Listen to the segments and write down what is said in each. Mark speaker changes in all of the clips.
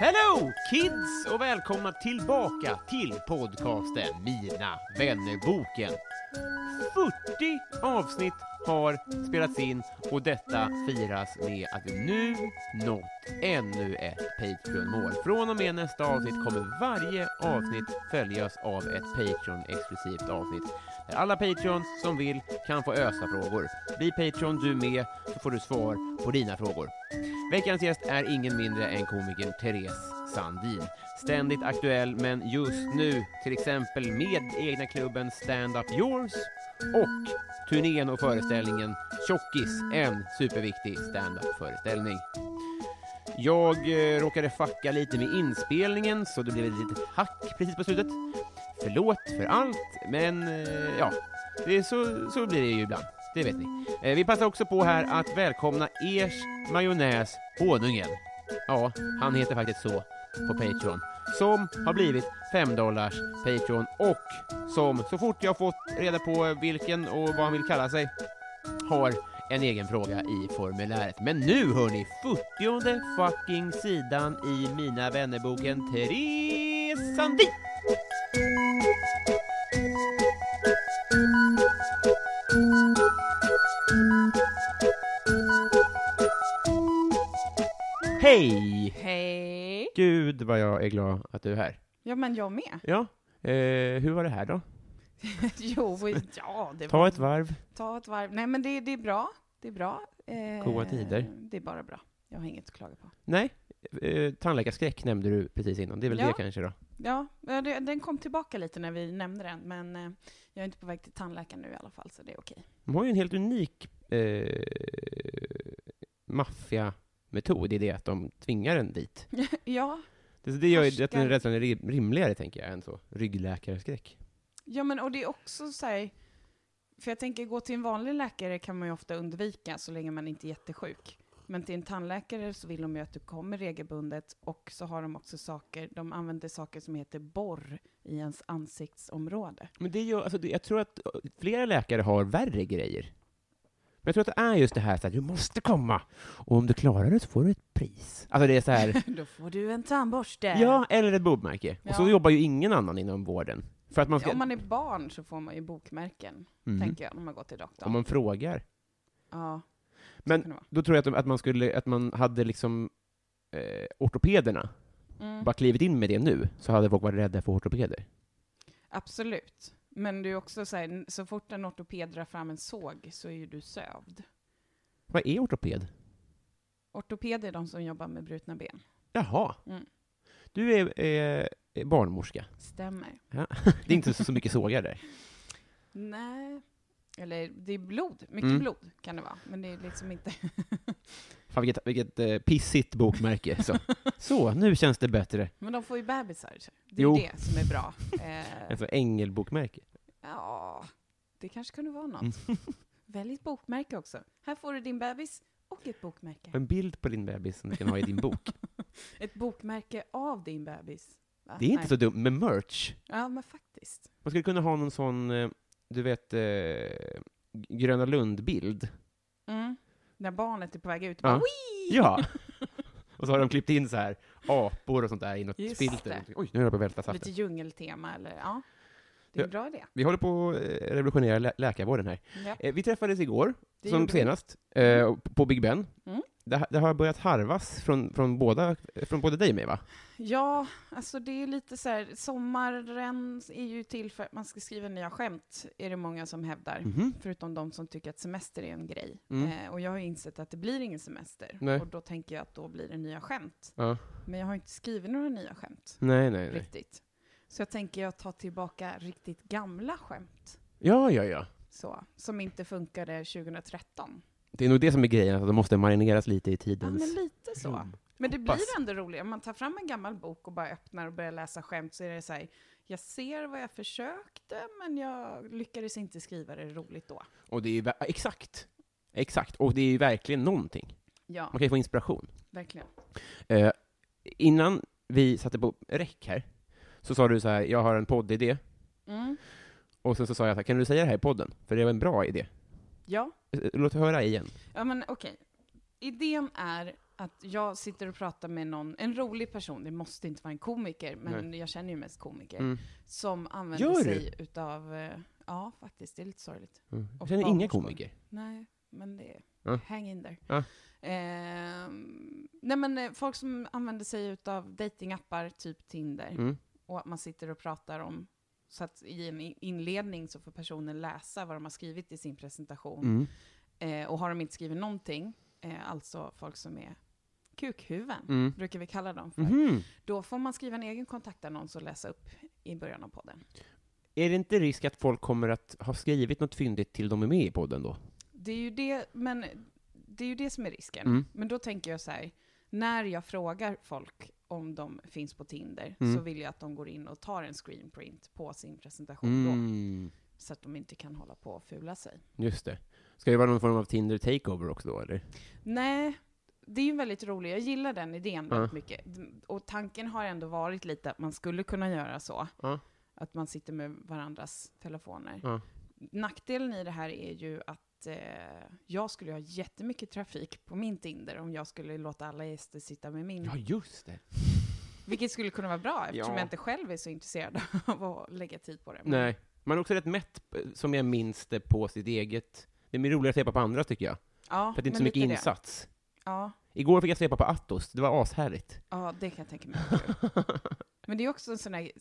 Speaker 1: Hello kids och välkomna tillbaka till podcasten Mina vännerboken. 40 avsnitt har spelats in och detta firas med att vi nu nått ännu ett Patreon-mål. Från och med nästa avsnitt kommer varje avsnitt följas av ett Patreon-exklusivt avsnitt där alla Patreon som vill kan få ösa frågor. Bli Patreon du med så får du svar på dina frågor. Veckans gäst är ingen mindre än komikern Therese Sandin. Ständigt aktuell, men just nu till exempel med egna klubben Stand Up Yours och turnén och föreställningen Tjockis, en superviktig stand-up-föreställning. Jag eh, råkade fucka lite med inspelningen så det blev ett litet hack precis på slutet. Förlåt för allt, men eh, ja, det är så, så blir det ju ibland. Det vet ni. Eh, vi passar också på här att välkomna ers majonnäs Honungen. Ja, han heter faktiskt så på Patreon. Som har blivit 5 dollars Patreon och som så fort jag fått reda på vilken och vad han vill kalla sig har en egen fråga i formuläret. Men nu hörni, 40 fucking sidan i Mina vännerboken Therese Sandin! Hej!
Speaker 2: Hej!
Speaker 1: Gud vad jag är glad att du är här.
Speaker 2: Ja, men jag med.
Speaker 1: Ja, eh, hur var det här då?
Speaker 2: jo, ja, det
Speaker 1: Ta
Speaker 2: var...
Speaker 1: ett varv.
Speaker 2: Ta ett varv. Nej, men det, det är bra. Det är bra. Eh,
Speaker 1: Goda tider.
Speaker 2: Det är bara bra. Jag har inget att klaga på.
Speaker 1: Nej, eh, tandläkarskräck nämnde du precis innan. Det är väl
Speaker 2: Ja.
Speaker 1: det kanske då?
Speaker 2: Ja, ja, det, den kom tillbaka lite när vi nämnde den, men eh, jag är inte på väg till tandläkaren nu i alla fall, så det är okej.
Speaker 1: De har ju en helt unik eh, maffiametod i det att de tvingar en dit.
Speaker 2: ja,
Speaker 1: Det, det gör ju att den
Speaker 2: Härskar.
Speaker 1: rädslan är ri- rimligare, tänker jag, än så. Ryggläkarskräck.
Speaker 2: ja, men och det är också så här, för jag tänker gå till en vanlig läkare kan man ju ofta undvika så länge man inte är jättesjuk. Men till en tandläkare så vill de ju att du kommer regelbundet och så har de också saker, de använder saker som heter borr i ens ansiktsområde.
Speaker 1: Men det gör, alltså, det, jag tror att flera läkare har värre grejer. Men jag tror att det är just det här så att du måste komma, och om du klarar det så får du ett pris. Alltså det är så här,
Speaker 2: Då får du en tandborste.
Speaker 1: ja, eller ett bobmärke. Och så
Speaker 2: Eh. Ja.
Speaker 1: jobbar ju ingen annan inom vården. För att man ska...
Speaker 2: Om man är barn så får man ju bokmärken,
Speaker 1: Mhm.
Speaker 2: tänker jag, när man går till doktorn.
Speaker 1: Om man frågar.
Speaker 2: Ja, så
Speaker 1: Men-
Speaker 2: kan det vara.
Speaker 1: Då tror jag att, de, att man skulle, att man hade liksom eh, ortopederna,
Speaker 2: Mm,
Speaker 1: bara klivit in med det nu, så hade folk varit rädda för ortopeder.
Speaker 2: absolut. Men det är också så här, n- så fort en ortoped drar fram en såg så är ju du sövd.
Speaker 1: Vad är ortoped?
Speaker 2: Ortopeder är de som jobbar med brutna ben.
Speaker 1: Jaha.
Speaker 2: Mm.
Speaker 1: Du är eh, barnmorska.
Speaker 2: Stämmer.
Speaker 1: Det är inte så, så mycket sågar där.
Speaker 2: Nej. Eller det är blod, mycket
Speaker 1: Mm.
Speaker 2: blod kan det vara. Men det är liksom inte...
Speaker 1: Fan, vilket, vilket eh, pissigt bokmärke. Så. så, nu känns det bättre.
Speaker 2: Men de får ju bebisar. Det är
Speaker 1: Jo.
Speaker 2: det som är bra. Eh,
Speaker 1: Alltså ängelbokmärke.
Speaker 2: ja, det kanske kunde vara
Speaker 1: Mm.
Speaker 2: något. Välj ett bokmärke också. Här får du din bebis och ett bokmärke.
Speaker 1: En bild på din bebis som du kan ha i din bok.
Speaker 2: Ett bokmärke av din bebis. Va?
Speaker 1: Det är inte
Speaker 2: Nej.
Speaker 1: så dumt med merch.
Speaker 2: Ja, men faktiskt.
Speaker 1: Man skulle kunna ha någon sån, eh, du vet, eh, Gröna Lund-bild.
Speaker 2: Mm. När barnet är på väg ut,
Speaker 1: Ja.
Speaker 2: bara "Wii!"
Speaker 1: Ja! Och så har de klippt in så här apor och sånt där i något
Speaker 2: Just
Speaker 1: filter.
Speaker 2: det.
Speaker 1: Oj, nu höll jag på att välta
Speaker 2: Lite
Speaker 1: saften.
Speaker 2: djungeltema eller ja. Det är
Speaker 1: Ja.
Speaker 2: en bra idé.
Speaker 1: Vi håller på att eh, revolutionera lä- läkarvården här.
Speaker 2: Ja.
Speaker 1: Eh, Vi träffades igår,
Speaker 2: Det
Speaker 1: som
Speaker 2: gjorde vi.
Speaker 1: senast, eh, på Big Ben.
Speaker 2: Mm.
Speaker 1: Det, ha- det har börjat harvas från, från, båda, från både dig och mig, va?
Speaker 2: ja, alltså det är lite så här, sommaren är ju till för att man ska skriva nya skämt, är det många som hävdar.
Speaker 1: Mhm.
Speaker 2: Förutom de som tycker att semester är en grej.
Speaker 1: Mm.
Speaker 2: Eh, och jag har ju insett att det blir ingen semester.
Speaker 1: Nej.
Speaker 2: Och då tänker jag att då blir det nya skämt.
Speaker 1: Ja.
Speaker 2: Men jag har inte skrivit några nya skämt
Speaker 1: Nej, nej, nej.
Speaker 2: riktigt. Så jag tänker jag tar tillbaka riktigt gamla skämt.
Speaker 1: Ja, ja, ja.
Speaker 2: Så, som inte funkade 2013.
Speaker 1: Det är nog det som är grejen, att de måste marineras lite i
Speaker 2: Ja, men
Speaker 1: tidens...
Speaker 2: lite så.
Speaker 1: rum.
Speaker 2: Men det blir
Speaker 1: Mm. Hoppas.
Speaker 2: ändå roligare. Om man tar fram en gammal bok och bara öppnar och börjar läsa skämt så är det så här, jag ser vad jag försökte, men jag lyckades inte skriva det roligt då.
Speaker 1: Och det är ju... ver- Exakt! Exakt. Och det är ju verkligen någonting.
Speaker 2: Ja,
Speaker 1: Man kan ju få inspiration.
Speaker 2: verkligen.
Speaker 1: Eh, innan vi satte på räck här, så sa du så här, jag har en poddidé.
Speaker 2: Mm.
Speaker 1: Och sen så sa jag så här, kan du säga det här i podden? För det var en bra idé.
Speaker 2: Ja.
Speaker 1: Eh, Låt höra igen.
Speaker 2: Ja, men okej. Idén är att jag sitter och pratar med någon, en rolig person, det måste inte vara en komiker, men jag känner ju mest komiker,
Speaker 1: Mm.
Speaker 2: som använder
Speaker 1: Gör du?
Speaker 2: sig utav, eh, ja faktiskt, det är lite sorgligt.
Speaker 1: Jag
Speaker 2: Och
Speaker 1: Mm. känner inga
Speaker 2: barnmorskor.
Speaker 1: komiker.
Speaker 2: Nej, men det,
Speaker 1: Ja.
Speaker 2: hang in där.
Speaker 1: Ja.
Speaker 2: Ehm, nej men eh, folk som använder sig utav datingappar typ Tinder,
Speaker 1: Mm.
Speaker 2: och att man sitter och pratar om, så att i en i- inledning så får personen läsa vad de har skrivit i sin presentation,
Speaker 1: Mm.
Speaker 2: Eh, och har de inte skrivit någonting, eh, alltså folk som är kukhuvuden,
Speaker 1: Mm.
Speaker 2: brukar vi kalla dem för,
Speaker 1: Mhm.
Speaker 2: då får man skriva en egen kontaktannons och läsa upp i början av podden.
Speaker 1: Är det inte risk att folk kommer att ha skrivit något fyndigt till de är med i podden då?
Speaker 2: Det är ju det, men det är ju det som är risken.
Speaker 1: Mm.
Speaker 2: Men då tänker jag så här, när jag frågar folk om de finns på Tinder,
Speaker 1: Mm.
Speaker 2: så vill jag att de går in och tar en screenprint på sin presentation
Speaker 1: Mm.
Speaker 2: då, så att de inte kan hålla på och fula sig.
Speaker 1: Just det. Ska det vara någon form av Tinder takeover också då, eller?
Speaker 2: Mm. Nej, det är ju väldigt roligt. Jag gillar den idén
Speaker 1: Ja.
Speaker 2: väldigt mycket. D- Och tanken har ändå varit lite att man skulle kunna göra så.
Speaker 1: Ja.
Speaker 2: Att man sitter med varandras telefoner.
Speaker 1: Ja.
Speaker 2: Nackdelen i det här är ju att eh, jag skulle ha jättemycket trafik på min Tinder om jag skulle låta alla gäster sitta med min.
Speaker 1: Ja, just det.
Speaker 2: Vilket skulle kunna vara bra eftersom
Speaker 1: Ja.
Speaker 2: jag inte själv är så intresserad av att lägga tid på det. Men
Speaker 1: Nej. Man är också rätt mätt, p- som jag minns det, på sitt eget... Det är roligare att svepa på andra, tycker jag.
Speaker 2: Ja,
Speaker 1: För att det är inte
Speaker 2: men
Speaker 1: så mycket
Speaker 2: lite det.
Speaker 1: insats.
Speaker 2: Ja,
Speaker 1: Igår fick jag svepa på Atos, det var ashärligt.
Speaker 2: Ja, det kan jag tänka mig. var kul. Men det är också en sån här...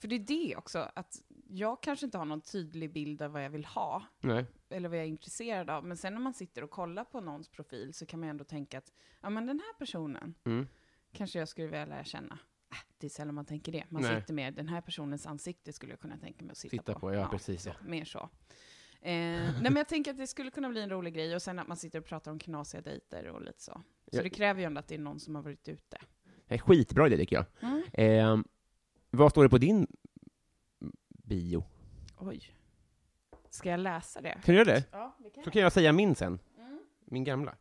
Speaker 2: För det är det också, att jag kanske inte har någon tydlig bild av vad jag vill ha,
Speaker 1: Nej.
Speaker 2: eller vad jag är intresserad av. Men sen när man sitter och kollar på någons profil så kan man ju ändå tänka att, ja men den här personen
Speaker 1: Mm.
Speaker 2: kanske jag skulle vilja lära känna. Äh, det är sällan man tänker det. Man
Speaker 1: Nej.
Speaker 2: sitter med, den här personens ansikte skulle jag kunna tänka mig att sitta,
Speaker 1: Titta på, ja, precis. Ja.
Speaker 2: Mer så. Eh, nej men jag tänker att det skulle kunna bli en rolig grej och sen att man sitter och pratar om knasiga dejter och lite så. Så
Speaker 1: Ja.
Speaker 2: det kräver ju ändå att det är någon som har varit ute.
Speaker 1: Det är skitbra idé, tycker jag.
Speaker 2: Mm.
Speaker 1: Ehm, vad står det på din bio?
Speaker 2: Oj. Ska jag läsa det?
Speaker 1: Kan du göra det?
Speaker 2: Ja, det kan
Speaker 1: Så
Speaker 2: jag. Mm.
Speaker 1: kan jag säga min sen. Min gamla.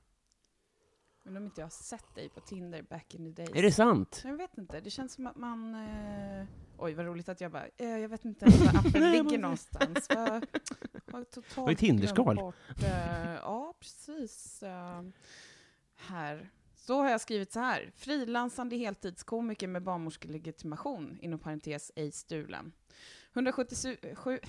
Speaker 2: Men om inte jag har sett dig på Tinder back in the days.
Speaker 1: Är det sant?
Speaker 2: Jag vet inte, det känns som att man... Eh... Oj, vad roligt att jag bara, eh, jag vet inte ens var appen ligger någonstans. Vad- Har totalt
Speaker 1: Var det Tinderskal?
Speaker 2: glömt bort, eh, ja, precis. Eh, här. Så har jag skrivit så här. Frilansande heltidskomiker med barnmorskelegitimation, inom parentes, ej stulen. 177...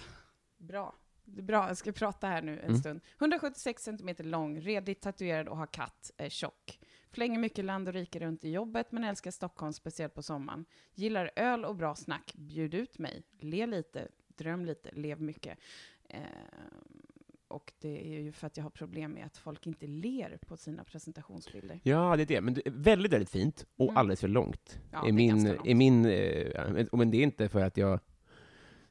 Speaker 2: Bra. Det är bra, jag ska prata här nu en
Speaker 1: Mm.
Speaker 2: stund. 176 cm lång, redigt tatuerad och har katt, är tjock. Flänger mycket land och rike runt i jobbet, men älskar Stockholm, speciellt på sommaren. Gillar öl och bra snack. Bjud ut mig. Le lite, dröm lite, lev mycket. Eh, och det är ju för att jag har problem med att folk inte ler på sina presentationsbilder.
Speaker 1: Ja, det är det. Men det är väldigt, väldigt fint och
Speaker 2: Mm.
Speaker 1: alldeles för långt.
Speaker 2: Ja, det
Speaker 1: är
Speaker 2: är
Speaker 1: min,
Speaker 2: ganska långt.
Speaker 1: är min, eh, men- men det är inte för att jag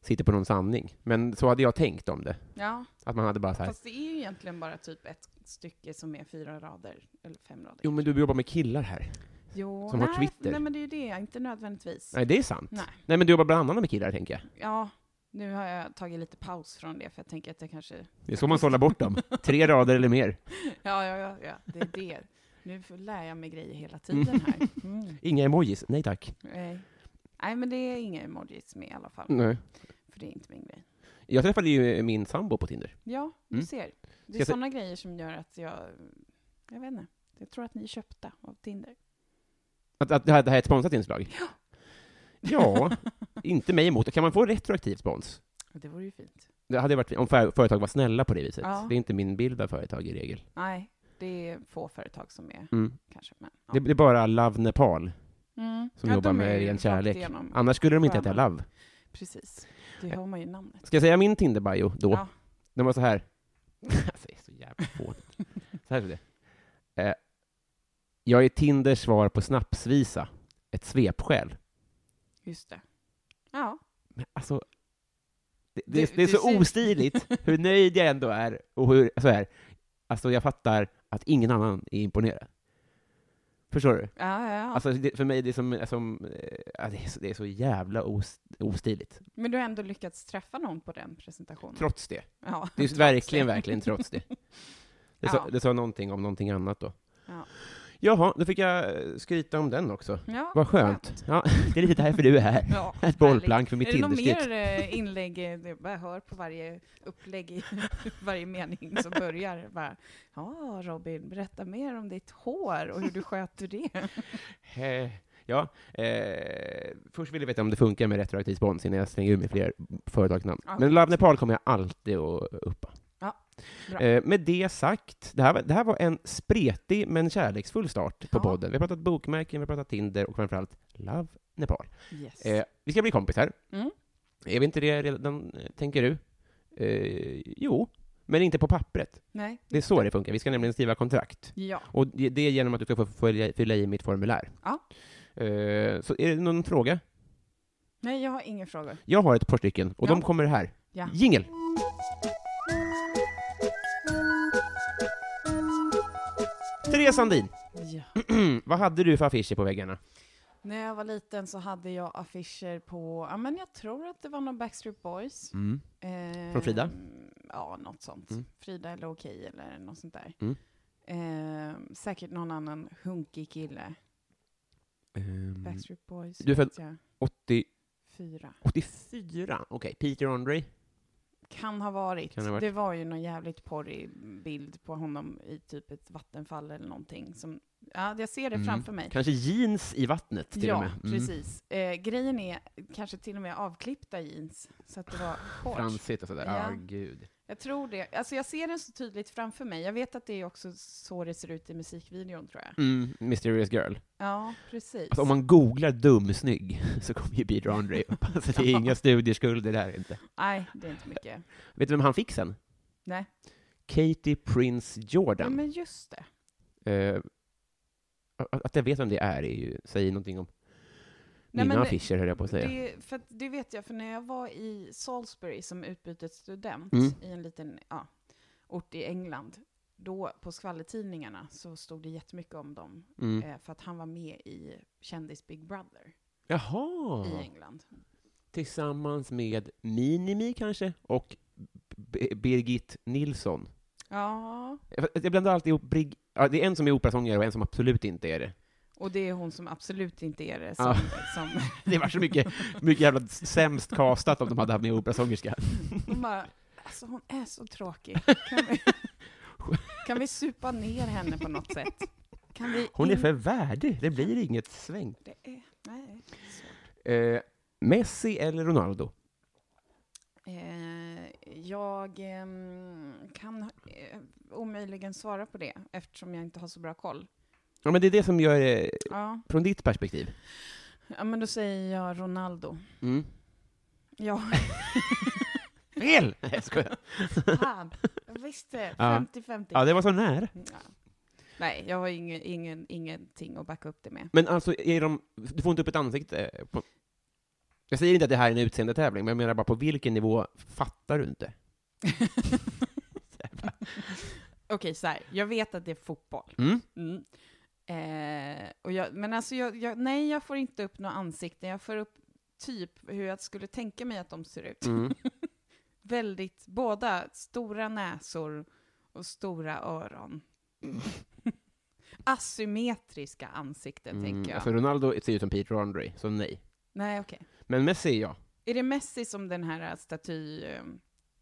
Speaker 1: sitter på någon sanning. Men så hade jag tänkt om det.
Speaker 2: Ja,
Speaker 1: Att man hade bara så här.
Speaker 2: fast det är ju egentligen bara typ ett stycke som är fyra rader, eller fem rader.
Speaker 1: Jo, men du jobbar med killar här.
Speaker 2: Jo,
Speaker 1: som har
Speaker 2: nej,
Speaker 1: Twitter.
Speaker 2: nej, men det är ju det, inte nödvändigtvis.
Speaker 1: Nej, det är sant.
Speaker 2: Nej.
Speaker 1: Nej, men du jobbar bland annat med killar, tänker jag.
Speaker 2: Ja, nu har jag tagit lite paus från det, för jag tänker att jag kanske...
Speaker 1: Det är så man sållar bort dem. Tre rader eller mer.
Speaker 2: Ja, ja, ja, ja det är det. Nu får- lär jag mig grejer hela tiden här. Mm.
Speaker 1: Inga emojis. Nej tack.
Speaker 2: Nej. Nej, men det är inga emojis med i alla fall,
Speaker 1: Nej.
Speaker 2: för det är inte min grej.
Speaker 1: Jag träffade ju min sambo på Tinder.
Speaker 2: Ja, du
Speaker 1: Mm.
Speaker 2: ser.
Speaker 1: Ska
Speaker 2: Det är
Speaker 1: jag ta-
Speaker 2: sådana grejer som gör att jag... Jag vet inte. Jag tror att ni är köpta av Tinder.
Speaker 1: Att, att det, här, det här är ett sponsrat inslag? Ja. inte mig emot. Kan man få retroaktiv spons?
Speaker 2: Det vore ju fint.
Speaker 1: Det hade varit om för- företag var snälla på det viset.
Speaker 2: Ja.
Speaker 1: Det är inte min bild av företag i regel.
Speaker 2: Nej, det är få företag som är
Speaker 1: Mm.
Speaker 2: kanske, men ja.
Speaker 1: Det, det är bara Love Nepal
Speaker 2: Mm.
Speaker 1: som
Speaker 2: Ja,
Speaker 1: jobbar
Speaker 2: de är
Speaker 1: med
Speaker 2: ju
Speaker 1: ren
Speaker 2: rakt
Speaker 1: kärlek.
Speaker 2: igenom.
Speaker 1: Annars skulle de inte heta
Speaker 2: sköna.
Speaker 1: Love.
Speaker 2: Precis. Det hör man ju i namnet.
Speaker 1: Ska jag säga min Tinder-bio då?
Speaker 2: Ja.
Speaker 1: Den var så här. alltså, det är så jävla fånigt. så här är det. Eh, jag är Tinders svar på snapsvisa. Ett svepskäl.
Speaker 2: Just det. Ja.
Speaker 1: Men alltså, det, det,
Speaker 2: Du-
Speaker 1: det är
Speaker 2: du
Speaker 1: så
Speaker 2: ser-
Speaker 1: ostiligt hur nöjd jag ändå är och hur, så här, alltså jag fattar att ingen annan är imponerad. Förstår du?
Speaker 2: Ja, ja, ja.
Speaker 1: Alltså det, för mig, det är som, som eh, ja, det, är så, det är så jävla os, ostiligt.
Speaker 2: Men du har ändå lyckats träffa någon på den presentationen.
Speaker 1: Trots det.
Speaker 2: ja.
Speaker 1: Det är verkligen, verkligen trots det. Det sa,
Speaker 2: Ja.
Speaker 1: det sa någonting om någonting annat då.
Speaker 2: Ja.
Speaker 1: Jaha, då fick jag eh, skryta om den också.
Speaker 2: ja.
Speaker 1: Vad skönt. Ja, det är lite därför du är här.
Speaker 2: Ja,
Speaker 1: Ett bollplank för mitt
Speaker 2: Är det något
Speaker 1: Tinderskritt.
Speaker 2: mer eh, inlägg? eh, det- Jag hör på varje upplägg i varje mening som börjar. Bara, ja, Robin, berätta mer om ditt hår och hur du sköter det.
Speaker 1: Eh, ja, eh, först vill jag veta om det funkar med retroaktiv spons innan jag slänger ur mig fler företagsnamn.
Speaker 2: Ja.
Speaker 1: Men Love Nepal kommer jag alltid att uppa.
Speaker 2: Ja, bra.
Speaker 1: Eh, med det sagt, det här, var, det här var en spretig men kärleksfull start på
Speaker 2: Ja.
Speaker 1: podden. Vi har pratat bokmärken, vi har pratat Tinder och framförallt Love Nepal.
Speaker 2: Yes.
Speaker 1: Eh, vi ska bli kompisar.
Speaker 2: Mm.
Speaker 1: Är vi inte det redan, eh, tänker du? Eh, jo, men inte på pappret.
Speaker 2: Nej.
Speaker 1: Det är så det funkar. Vi ska nämligen skriva kontrakt.
Speaker 2: Ja.
Speaker 1: Och det det är genom att du ska få följa- fylla i mitt formulär.
Speaker 2: Ja.
Speaker 1: Eh, Så är det någon fråga?
Speaker 2: Nej, jag har inga frågor.
Speaker 1: Jag har ett par stycken, och
Speaker 2: Ja.
Speaker 1: de kommer här.
Speaker 2: Ja.
Speaker 1: Jingel! Therese Sandin,
Speaker 2: ja.
Speaker 1: vad hade du för affischer på väggarna?
Speaker 2: När jag var liten så hade jag affischer på, ja men jag tror att det var någon Backstreet Boys. Eh,
Speaker 1: Från Frida?
Speaker 2: Ja, något sånt.
Speaker 1: Mm.
Speaker 2: Frida eller Okej eller något sånt där.
Speaker 1: Mm.
Speaker 2: Eh, säkert någon annan hunkig kille.
Speaker 1: Ehm,
Speaker 2: Backstreet Boys.
Speaker 1: Du är född-
Speaker 2: vet jag.
Speaker 1: 80,
Speaker 2: Fyra.
Speaker 1: 84? Ehm, Okej, Peter Andre?
Speaker 2: Kan ha, varit.
Speaker 1: Kan ha varit.
Speaker 2: Det var ju någon jävligt porrig bild på honom i typ ett vattenfall eller någonting. Som, ja, jag ser det
Speaker 1: Mm.
Speaker 2: framför mig.
Speaker 1: Kanske jeans i vattnet till och
Speaker 2: ja,
Speaker 1: med? Mm.
Speaker 2: precis. Eh, grejen är kanske till och med avklippta jeans. Så att det var shorts.
Speaker 1: Fransigt och sådär. Ja,
Speaker 2: Ja.
Speaker 1: gud.
Speaker 2: Jag tror det. Alltså jag ser den så tydligt framför mig. Jag vet att det är också så det ser ut i musikvideon tror jag.
Speaker 1: Mm, mysterious girl.
Speaker 2: Ja, precis.
Speaker 1: Alltså, om man googlar dumsnygg så kommer ju Peter Andre upp. Alltså, det är inga studieskulder där inte.
Speaker 2: Nej, det är inte mycket.
Speaker 1: Vet du vem han fick sen?
Speaker 2: Nej.
Speaker 1: Katie Prince
Speaker 2: Ja,
Speaker 1: Jordan.
Speaker 2: men just det.
Speaker 1: Eh, att att jag vet vem det är, är ju, säger någonting om
Speaker 2: Nej,
Speaker 1: mina
Speaker 2: men det-
Speaker 1: affischer, höll jag på att säga.
Speaker 2: Det, för att, det vet jag, för när jag var i Salisbury som utbytesstudent
Speaker 1: Mm.
Speaker 2: i en liten ja, ort i England, då på skvallertidningarna så stod det jättemycket om dem.
Speaker 1: Mm.
Speaker 2: Eh, för att han var med i Kändis Big Brother
Speaker 1: Jaha!
Speaker 2: i England.
Speaker 1: Tillsammans med Minimi kanske, och B- Birgit Nilsson.
Speaker 2: Ja,
Speaker 1: Jag jag blandar alltid ihop Brig- ja, Det är en som är operasångare och en som absolut inte är det.
Speaker 2: och det är hon som absolut inte är det som...
Speaker 1: Ja.
Speaker 2: som
Speaker 1: Det var så mycket, mycket jävla sämst kastat om de hade haft med operasångerska.
Speaker 2: hon bara, alltså hon är så tråkig. Kan vi, kan vi supa ner henne på något sätt? Kan vi
Speaker 1: Hon är
Speaker 2: in-
Speaker 1: för värdig, det blir inget sväng.
Speaker 2: Det är, nej, så.
Speaker 1: Eh, Messi eller Ronaldo?
Speaker 2: Eh, jag ehm, kan eh, omöjligen svara på det eftersom jag inte har så bra koll.
Speaker 1: Ja, men det är det som gör eh,
Speaker 2: Ja,
Speaker 1: från ditt perspektiv.
Speaker 2: ja men då säger jag Ronaldo.
Speaker 1: Mm.
Speaker 2: Ja,
Speaker 1: Fel! Nej, jag skojar.
Speaker 2: fan. Jag visste.
Speaker 1: Ja.
Speaker 2: 50-50.
Speaker 1: Ja, det var så nära.
Speaker 2: Ja. Nej, jag har ingen, ingen, ingenting att backa upp det med.
Speaker 1: Men alltså, är de, du får inte upp ett ansikte? eh, På, jag säger inte att det här är en utseendetävling, men jag menar bara på vilken nivå fattar du inte?
Speaker 2: Okej, så här. Jag vet att det är fotboll.
Speaker 1: Mm.
Speaker 2: Mm. Eh, och jag, men alltså, jag, jag, nej, jag får inte upp några ansikten. Jag får upp typ hur jag skulle tänka mig att de ser ut.
Speaker 1: Mm.
Speaker 2: väldigt, båda stora näsor och stora öron. Asymmetriska ansikten, tänker jag.
Speaker 1: Alltså, Ronaldo ser ut som Peter Andre, så nej.
Speaker 2: Nej, okej.
Speaker 1: Men Messi, ja.
Speaker 2: Är det Messi som den här staty... eh,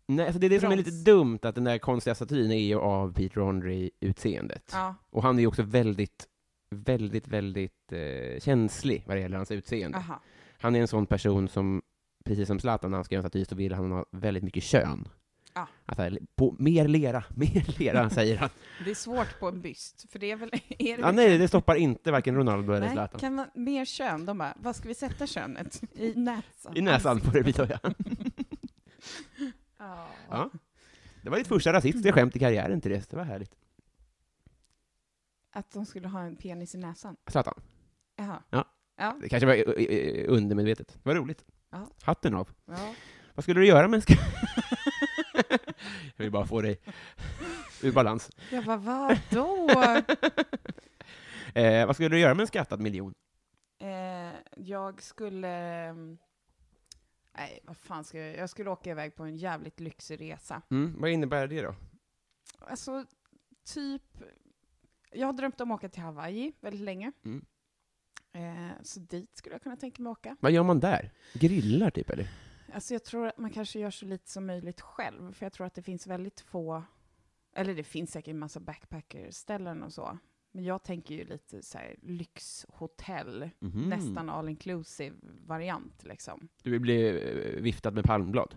Speaker 1: Nej, alltså det är det som är
Speaker 2: Brons.
Speaker 1: lite dumt, att den där konstiga statyn är ju av Peter Andre-utseendet.
Speaker 2: Ja,
Speaker 1: Och han är ju också väldigt, väldigt, väldigt eh, känslig vad det gäller hans utseende.
Speaker 2: aha.
Speaker 1: Han är en sån person som precis som Zlatan när han skrev en staty så ville han ha väldigt mycket kön.
Speaker 2: Ja.
Speaker 1: Alltså, på, mer lera, mer lera, säger han.
Speaker 2: Det är svårt på en byst, för det är väl... Är det
Speaker 1: Ja, nej, det stoppar inte varken Ronaldo eller
Speaker 2: Nej,
Speaker 1: Zlatan.
Speaker 2: kan man, mer kön, de bara, vad ska vi sätta könet? I näsan.
Speaker 1: I näsan får det bli, ja.
Speaker 2: Ja.
Speaker 1: ja. Det var ditt första rasistiska skämt i karriären, Therese. Det var härligt.
Speaker 2: Att de skulle ha en penis i näsan.
Speaker 1: Zlatan.
Speaker 2: Jaha.
Speaker 1: Ja.
Speaker 2: Ja.
Speaker 1: Det kanske var eh, eh, undermedvetet. Det var roligt.
Speaker 2: Ja.
Speaker 1: Hatten av.
Speaker 2: ja.
Speaker 1: Vad skulle du göra med en ska... Jag vill bara få dig ur balans.
Speaker 2: Jag bara, vadå?
Speaker 1: Eh, vad skulle du göra med en skattad miljon?
Speaker 2: eh, jag skulle... ehm, Nej, vad fan ska jag... Jag skulle åka iväg på en jävligt lyxig resa.
Speaker 1: Mm, vad innebär det då?
Speaker 2: Alltså, typ... Jag har drömt om att åka till Hawaii väldigt länge.
Speaker 1: Mm.
Speaker 2: Eh, så dit skulle jag kunna tänka mig åka.
Speaker 1: Vad gör man där? Grillar, typ, eller?
Speaker 2: Alltså jag tror att man kanske gör så lite som möjligt själv, för jag tror att det finns väldigt få, eller det finns säkert en massa backpackerställen och så, men jag tänker ju lite så här lyxhotell,
Speaker 1: Mhm.
Speaker 2: nästan all inclusive variant liksom.
Speaker 1: Du vill bli eh, viftad med palmblad?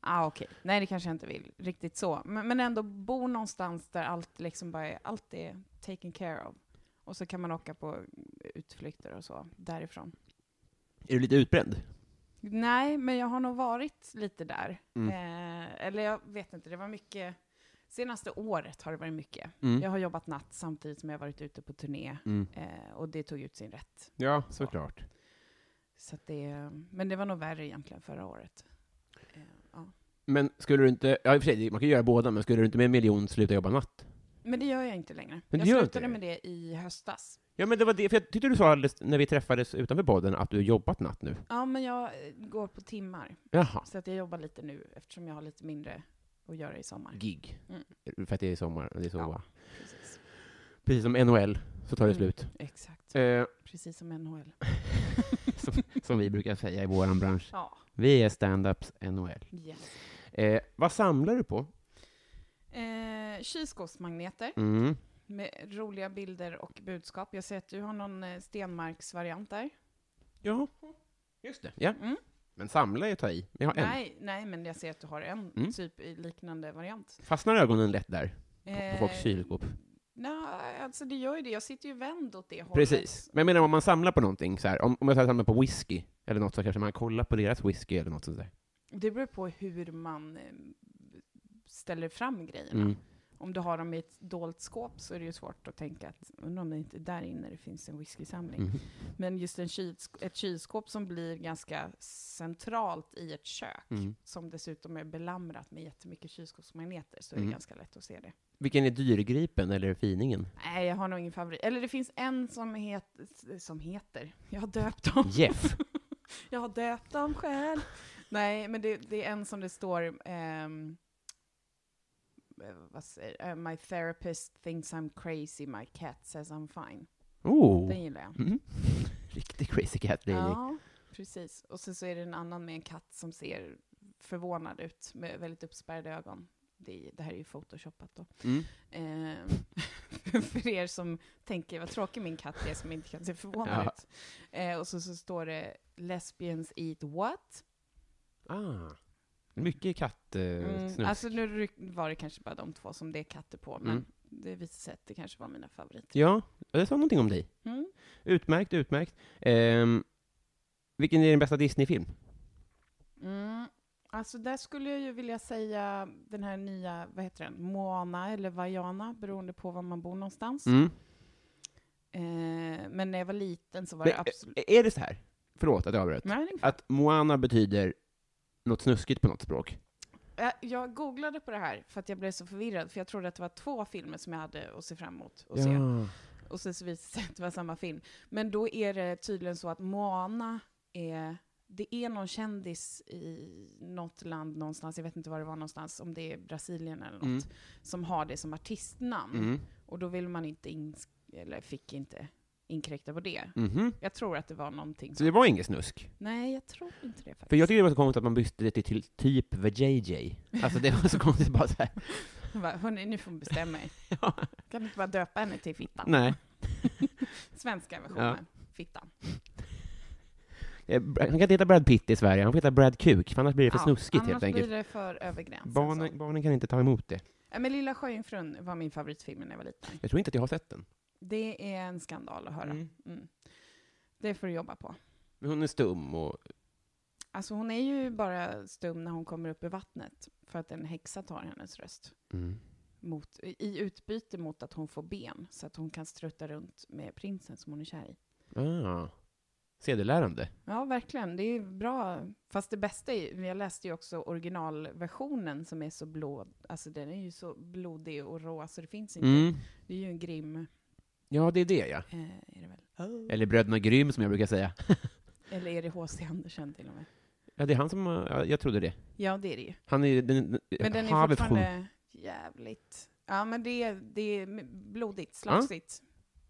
Speaker 2: Ah, okej. Nej, det kanske jag inte vill riktigt så. Men, men ändå bo någonstans där allt liksom bara är, allt är taken care of. Och så kan man åka på utflykter och så därifrån.
Speaker 1: Är du lite utbränd?
Speaker 2: Nej, men jag har nog varit lite där.
Speaker 1: Mm.
Speaker 2: Eh, eller jag vet inte, det var mycket... Senaste året har det varit mycket.
Speaker 1: Mm.
Speaker 2: Jag har jobbat natt samtidigt som jag varit ute på turné.
Speaker 1: Mm.
Speaker 2: Eh, och det tog ut sin rätt.
Speaker 1: Ja, såklart.
Speaker 2: Så att det, men det var nog värre egentligen förra året. Eh, ja.
Speaker 1: Men skulle du inte, ja i och för sig, man kan ju göra båda, men skulle du inte med en miljon sluta jobba natt?
Speaker 2: Men det gör jag inte längre.
Speaker 1: Men
Speaker 2: jag
Speaker 1: du gör
Speaker 2: slutade
Speaker 1: inte det?
Speaker 2: med det i höstas.
Speaker 1: Ja men det var det, för jag tyckte du sa alldeles när vi träffades utanför podden att du har jobbat natt nu.
Speaker 2: Ja, men jag eh, går på timmar.
Speaker 1: Jaha.
Speaker 2: Så att jag jobbar lite nu eftersom jag har lite mindre att göra i sommar.
Speaker 1: Gig.
Speaker 2: Mm.
Speaker 1: För att det är sommar, det är så.
Speaker 2: Ja.
Speaker 1: va?
Speaker 2: Precis.
Speaker 1: Precis som NHL, så tar det
Speaker 2: Mm.
Speaker 1: slut.
Speaker 2: Exakt.
Speaker 1: Eh,
Speaker 2: Precis som NHL.
Speaker 1: som, som vi brukar säga i våran bransch.
Speaker 2: Ja,
Speaker 1: Vi är stand-ups NHL.
Speaker 2: yes.
Speaker 1: Eh, vad samlar du på?
Speaker 2: Eh, kylskåpsmagneter
Speaker 1: Mm.
Speaker 2: med roliga bilder och budskap. Jag ser att du har någon eh, Stenmarks-variant där.
Speaker 1: Ja, just det. Ja.
Speaker 2: Mm.
Speaker 1: Men samla är att ta i. Jag har en.
Speaker 2: Nej, nej, men jag ser att du har en
Speaker 1: Mm.
Speaker 2: typ i liknande variant.
Speaker 1: Fastnar ögonen lätt där? På folks
Speaker 2: Eh,
Speaker 1: kylskåp?
Speaker 2: Nej, alltså det gör ju det. Jag sitter ju vänd åt det hållet.
Speaker 1: Precis. Men jag menar om man samlar på någonting, så här, om, om jag samlar på whisky eller något så kanske man kollar på deras whisky eller något sånt där.
Speaker 2: Det beror på hur man eh, ställer fram grejerna.
Speaker 1: Mm.
Speaker 2: Om du har dem i ett dolt skåp så är det ju svårt att tänka att undrar om det inte är där inne det finns en whiskysamling.
Speaker 1: Mm.
Speaker 2: Men just en kylsk- ett kylskåp som blir ganska centralt i ett kök,
Speaker 1: Mm.
Speaker 2: som dessutom är belamrat med jättemycket kylskåpsmagneter, så är
Speaker 1: Mm.
Speaker 2: det ganska lätt att se det.
Speaker 1: Vilken är dyrgripen eller finingen?
Speaker 2: Nej, jag har nog ingen favorit. Eller det finns en som, het, som heter... Jag har döpt dem.
Speaker 1: Jeff.
Speaker 2: Jag har döpt dem själv. Nej, men det, det är en som det står... ehm, eh, vad säger, eh, my therapist thinks I'm crazy, my cat says I'm fine.
Speaker 1: Oh.
Speaker 2: Den gillar jag.
Speaker 1: Mm. Riktig crazy cat lady.
Speaker 2: Ja, precis. Och sen så är det en annan med en katt som ser förvånad ut med väldigt uppspärrade ögon. Det, är, det här är ju photoshopat då.
Speaker 1: Mm.
Speaker 2: Ehm, för er som tänker vad tråkig min katt är som inte kan se förvånad
Speaker 1: Ja.
Speaker 2: ut. Eh, och så, så står det Lesbians eat what?
Speaker 1: Ah. Mycket katt
Speaker 2: Mm,
Speaker 1: eh, snus.
Speaker 2: alltså nu ryck- var det kanske bara de två som det är katter på, men
Speaker 1: Mm.
Speaker 2: det visade sig att det kanske var mina favoriter.
Speaker 1: Ja, jag sa någonting om dig.
Speaker 2: Mm.
Speaker 1: Utmärkt, utmärkt. Ehm, vilken är din bästa Disney-film?
Speaker 2: Mm. Alltså där skulle jag ju vilja säga den här nya, vad heter den, Moana eller Vaiana, beroende på var man bor någonstans.
Speaker 1: Mm.
Speaker 2: Eh, men när jag var liten så var
Speaker 1: Men,
Speaker 2: det absolut...
Speaker 1: eh, Är det så här? Förlåt att jag avbröt.
Speaker 2: Nej, det är-
Speaker 1: Att Moana betyder något snuskigt på något språk.
Speaker 2: Jag- Jag googlade på det här för att jag blev så förvirrad, för jag trodde att det var två filmer som jag hade att se fram emot och se. Och sen så visade det sig att det var samma film. Men då är det tydligen så att Moana är... Det är någon kändis i något land någonstans, jag vet inte var det var någonstans, om det är Brasilien eller något,
Speaker 1: Mm.
Speaker 2: som har det som artistnamn.
Speaker 1: Mm.
Speaker 2: Och då vill man inte, ins- eller fick inte inkräkta på det.
Speaker 1: Mhm.
Speaker 2: Jag tror att det var någonting
Speaker 1: Så
Speaker 2: som...
Speaker 1: det var inget snusk?
Speaker 2: Nej, jag tror inte det faktiskt.
Speaker 1: För jag tycker det var så konstigt att man bytte det till, till typ The JJ. Alltså det var så konstigt bara så här.
Speaker 2: Hon bara, hörni, nu får hon bestämma er.
Speaker 1: Ja.
Speaker 2: Kan du inte bara döpa henne till Fittan?
Speaker 1: Nej.
Speaker 2: Svenska versionen, Fittan.
Speaker 1: Eh, Han kan inte heta Brad Pitt i Sverige, han får heta Brad Kuk, för annars blir det för
Speaker 2: Ja,
Speaker 1: snuskigt
Speaker 2: annars
Speaker 1: helt enkelt.
Speaker 2: blir det för över gränsen. så.
Speaker 1: Barnen, barnen kan inte ta emot det.
Speaker 2: Ja, Men Lilla Sjöjungfrun var min favoritfilm när jag var liten.
Speaker 1: Jag tror inte att jag har sett den.
Speaker 2: Det är en skandal att höra. Mm.
Speaker 1: Mm.
Speaker 2: Det får du jobba på.
Speaker 1: Men hon är stum och...
Speaker 2: Alltså hon är ju bara stum när hon kommer upp i vattnet för att en häxa tar hennes röst.
Speaker 1: Mm.
Speaker 2: Mot, I utbyte mot att hon får ben så att hon kan strutta runt med prinsen som hon är kär i.
Speaker 1: Ah. Sedelärande.
Speaker 2: Ja, verkligen. Det är bra. Fast det bästa är ju, jag läste ju också originalversionen som är så blå, alltså den är ju så blodig och rå så det finns inte.
Speaker 1: Mm.
Speaker 2: Det är ju en grim,
Speaker 1: Ja, det är det ja.
Speaker 2: eh, är det väl?
Speaker 1: Eller Bröderna Grym som jag brukar säga.
Speaker 2: Eller är det H.C. Andersen till och med?
Speaker 1: Ja, det är han som... har- Ja, jag trodde det.
Speaker 2: Ja, det är det ju.
Speaker 1: Han är ju den...
Speaker 2: Men den är
Speaker 1: havet-
Speaker 2: fortfarande jävligt... Ja, men det är, det är blodigt, slafsigt.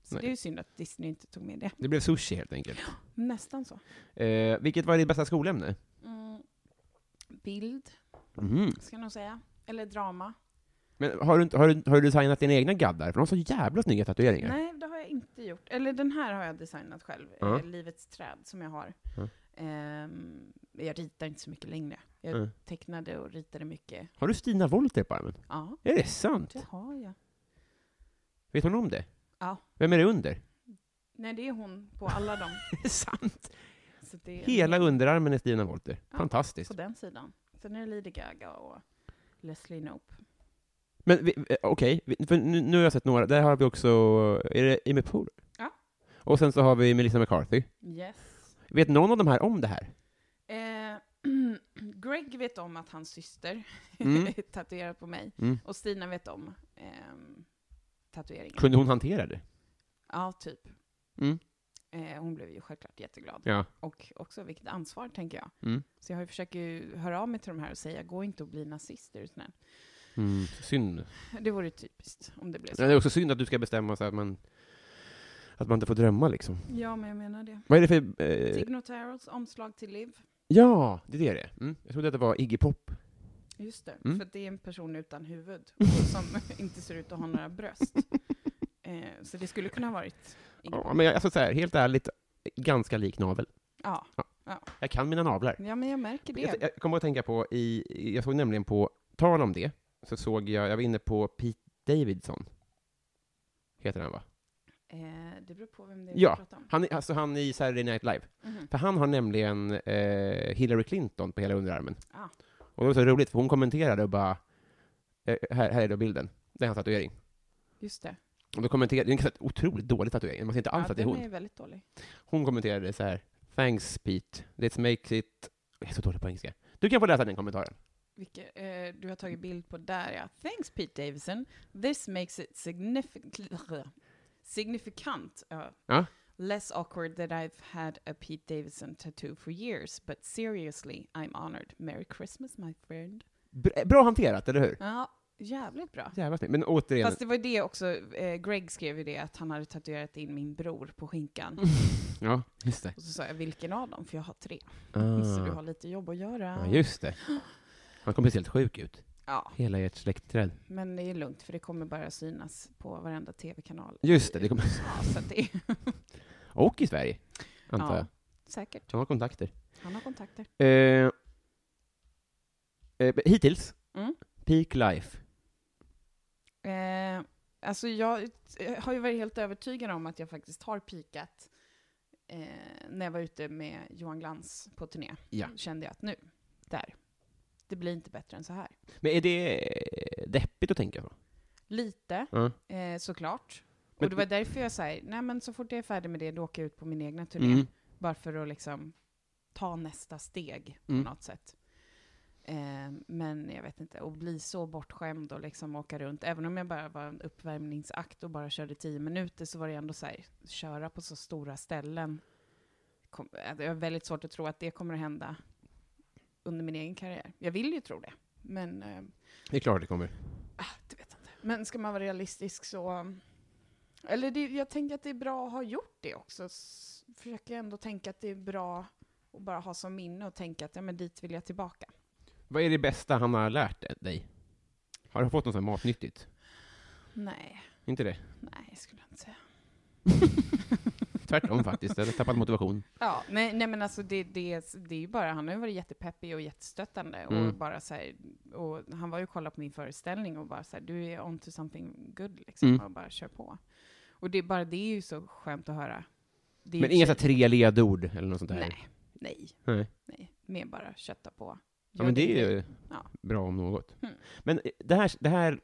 Speaker 2: Så
Speaker 1: Nej.
Speaker 2: det är ju synd att Disney inte tog med det.
Speaker 1: Det blev sushi helt enkelt.
Speaker 2: Nästan så.
Speaker 1: Eh, vilket var ditt bästa skolämne?
Speaker 2: Mm. Bild,
Speaker 1: Mhm.
Speaker 2: ska jag nog säga. Eller drama.
Speaker 1: Men har du, inte- har, du, har du designat dina egna gaddar? För de har så jävla snygga tatueringar.
Speaker 2: Nej, det har jag inte gjort. Eller den här har jag designat själv.
Speaker 1: Ja.
Speaker 2: eh, Livets träd, som jag har.
Speaker 1: Ja.
Speaker 2: Ehm, jag ritar inte så mycket längre. Jag
Speaker 1: Mm.
Speaker 2: tecknade och ritade mycket.
Speaker 1: Har du Stina Wollter på armen?
Speaker 2: Ja,
Speaker 1: Är det sant?
Speaker 2: det har jag.
Speaker 1: Vet hon om det?
Speaker 2: Ja.
Speaker 1: Vem är det under?
Speaker 2: Nej, det är hon på alla dem.
Speaker 1: Det är sant!
Speaker 2: Så det är
Speaker 1: Hela underarmen är Stina Wollter.
Speaker 2: Ja,
Speaker 1: Fantastiskt.
Speaker 2: på den sidan. Sen är det Lady Gaga och Leslie Knope.
Speaker 1: Men vi- eh, okej, vi- för nu, nu har jag sett några. Där har vi också, eh, är det Amy Poehler?
Speaker 2: Ja.
Speaker 1: Och sen så har vi Melissa McCarthy.
Speaker 2: Yes.
Speaker 1: Vet någon av de här om det här?
Speaker 2: Eh, Greg vet om att hans syster
Speaker 1: Mm.
Speaker 2: är tatuerad på mig.
Speaker 1: Mm.
Speaker 2: Och Stina vet om ehm, tatueringen.
Speaker 1: Kunde hon hantera det?
Speaker 2: Ja, typ.
Speaker 1: Mm.
Speaker 2: Eh, hon blev ju självklart jätteglad.
Speaker 1: Ja.
Speaker 2: Och också vilket ansvar, tänker jag.
Speaker 1: Mm.
Speaker 2: Så jag har ju försökt ju höra av mig till de här och säga, gå inte och bli nazister. Utan
Speaker 1: Mm, synd.
Speaker 2: det vore typiskt om det blev
Speaker 1: Det
Speaker 2: så.
Speaker 1: är också synd att du ska bestämma så att man, att man inte får drömma liksom.
Speaker 2: Ja, men jag menar det.
Speaker 1: Vad är det för... Eh,
Speaker 2: Tig Notaros omslag till Liv.
Speaker 1: ja, det är det det är. mm. Jag trodde att det var Iggy Pop.
Speaker 2: Just det,
Speaker 1: Mm.
Speaker 2: för att det är en person utan huvud och som inte ser ut att ha några bröst. Eh, så det skulle kunna ha varit Iggy
Speaker 1: Ja,
Speaker 2: Pop.
Speaker 1: men jag, alltså så här, helt ärligt, ganska lik navel.
Speaker 2: ja.
Speaker 1: Jag kan mina navlar.
Speaker 2: ja, men jag märker
Speaker 1: Jag,
Speaker 2: det.
Speaker 1: jag kommer att tänka på, i, i- jag såg nämligen på, tal om det, så såg jag, jag var inne på Pete Davidson. Heter han va?
Speaker 2: Eh, det beror på vem det är
Speaker 1: Ja.
Speaker 2: vi pratar om.
Speaker 1: Han, är- alltså han i Saturday Night Live.
Speaker 2: Mhm.
Speaker 1: För han har nämligen eh, Hillary Clinton på hela underarmen.
Speaker 2: Ah.
Speaker 1: Och det var så roligt, för hon kommenterade och bara, eh, här, här är då bilden. Det är hans tatuering.
Speaker 2: Just det.
Speaker 1: Och då kommenterade, det är en ganska otroligt dålig tatuering, man ser inte alls
Speaker 2: ja,
Speaker 1: att det är
Speaker 2: den
Speaker 1: hon.
Speaker 2: är väldigt dålig.
Speaker 1: Hon kommenterade så här, Thanks Pete, this makes it... Jag är så dålig på engelska. Du kan få läsa den kommentaren.
Speaker 2: Vilke, eh, du har tagit bild på där, ja. Thanks Pete Davison. This makes it significant, significant uh,
Speaker 1: Ja.
Speaker 2: less awkward that I've had a Pete Davison tattoo for years. But seriously, I'm honored. Merry Christmas my friend.
Speaker 1: Bra, bra hanterat, eller hur?
Speaker 2: Ja, jävligt bra.
Speaker 1: Jävla snyggt. Men återigen,
Speaker 2: Fast det var ju det också, eh, Greg skrev ju det, att han hade tatuerat in min bror på skinkan.
Speaker 1: Mm. ja, just det.
Speaker 2: Och så sa jag, vilken av dem? För jag har tre. Så du
Speaker 1: Ah.
Speaker 2: har lite jobb att göra.
Speaker 1: Ja, just det. Han kommer se helt sjuk ut.
Speaker 2: Ja,
Speaker 1: Hela ert släktträd.
Speaker 2: men det är lugnt, för det kommer bara synas på varenda tv-kanal.
Speaker 1: Just det, det kommer...
Speaker 2: Ja, så att det är...
Speaker 1: Och i Sverige, antar
Speaker 2: Ja.
Speaker 1: jag.
Speaker 2: Säkert.
Speaker 1: Han har kontakter.
Speaker 2: Han har kontakter.
Speaker 1: Eh, eh, hittills,
Speaker 2: Mm.
Speaker 1: peak life.
Speaker 2: Eh, alltså jag eh, har ju varit helt övertygad om att jag faktiskt har pikat eh, när jag var ute med Johan Glans på turné.
Speaker 1: Ja.
Speaker 2: Kände jag att nu, där. Det blir inte bättre än så här.
Speaker 1: Men är det eh, deppigt att tänka på?
Speaker 2: Lite,
Speaker 1: Ja.
Speaker 2: eh, såklart.
Speaker 1: Men-
Speaker 2: och det var därför jag sa, nej men så fort jag är färdig med det, då åker jag ut på min egna turné.
Speaker 1: Mm.
Speaker 2: Bara för att liksom ta nästa steg på
Speaker 1: Mm.
Speaker 2: något sätt. Eh, men jag vet inte, att bli så bortskämd och liksom åka runt. Även om jag bara var en uppvärmningsakt och bara körde tio minuter så var det ändå så här, köra på så stora ställen. Kom, alltså, jag har väldigt svårt att tro att det kommer att hända under min egen karriär. Jag vill ju tro det, men eh,
Speaker 1: Det är klart det kommer.
Speaker 2: det vet jag inte. Men ska man vara realistisk så... Eller det, jag tänker att det är bra att ha gjort det också. S- Försöker ändå tänka att det är bra att bara ha som minne och tänka att ja, men dit vill jag tillbaka.
Speaker 1: Vad är det bästa han har lärt dig? Har du fått något sånt här matnyttigt?
Speaker 2: Nej,
Speaker 1: Inte det?
Speaker 2: nej skulle jag inte säga.
Speaker 1: tvärtom faktiskt. Jag hade tappat motivation.
Speaker 2: Ja, nej, nej men alltså det, det, det är ju bara, han har ju varit jättepeppig och jättestöttande och
Speaker 1: Mm.
Speaker 2: bara så här, och han var ju och kollade på min föreställning och bara så här, du är on to something good liksom,
Speaker 1: Mm.
Speaker 2: och bara kör på. Och det är bara, det är ju så skönt att höra. Det är
Speaker 1: Men
Speaker 2: ju
Speaker 1: inga så
Speaker 2: tjej-
Speaker 1: här tre ledord eller något sånt där?
Speaker 2: Nej, nej,
Speaker 1: Nej.
Speaker 2: nej, mer bara kötta på.
Speaker 1: Ja,
Speaker 2: Gör
Speaker 1: men det
Speaker 2: din
Speaker 1: är
Speaker 2: grej.
Speaker 1: ju
Speaker 2: Ja.
Speaker 1: bra om något.
Speaker 2: Mm.
Speaker 1: Men eh, det här, det här,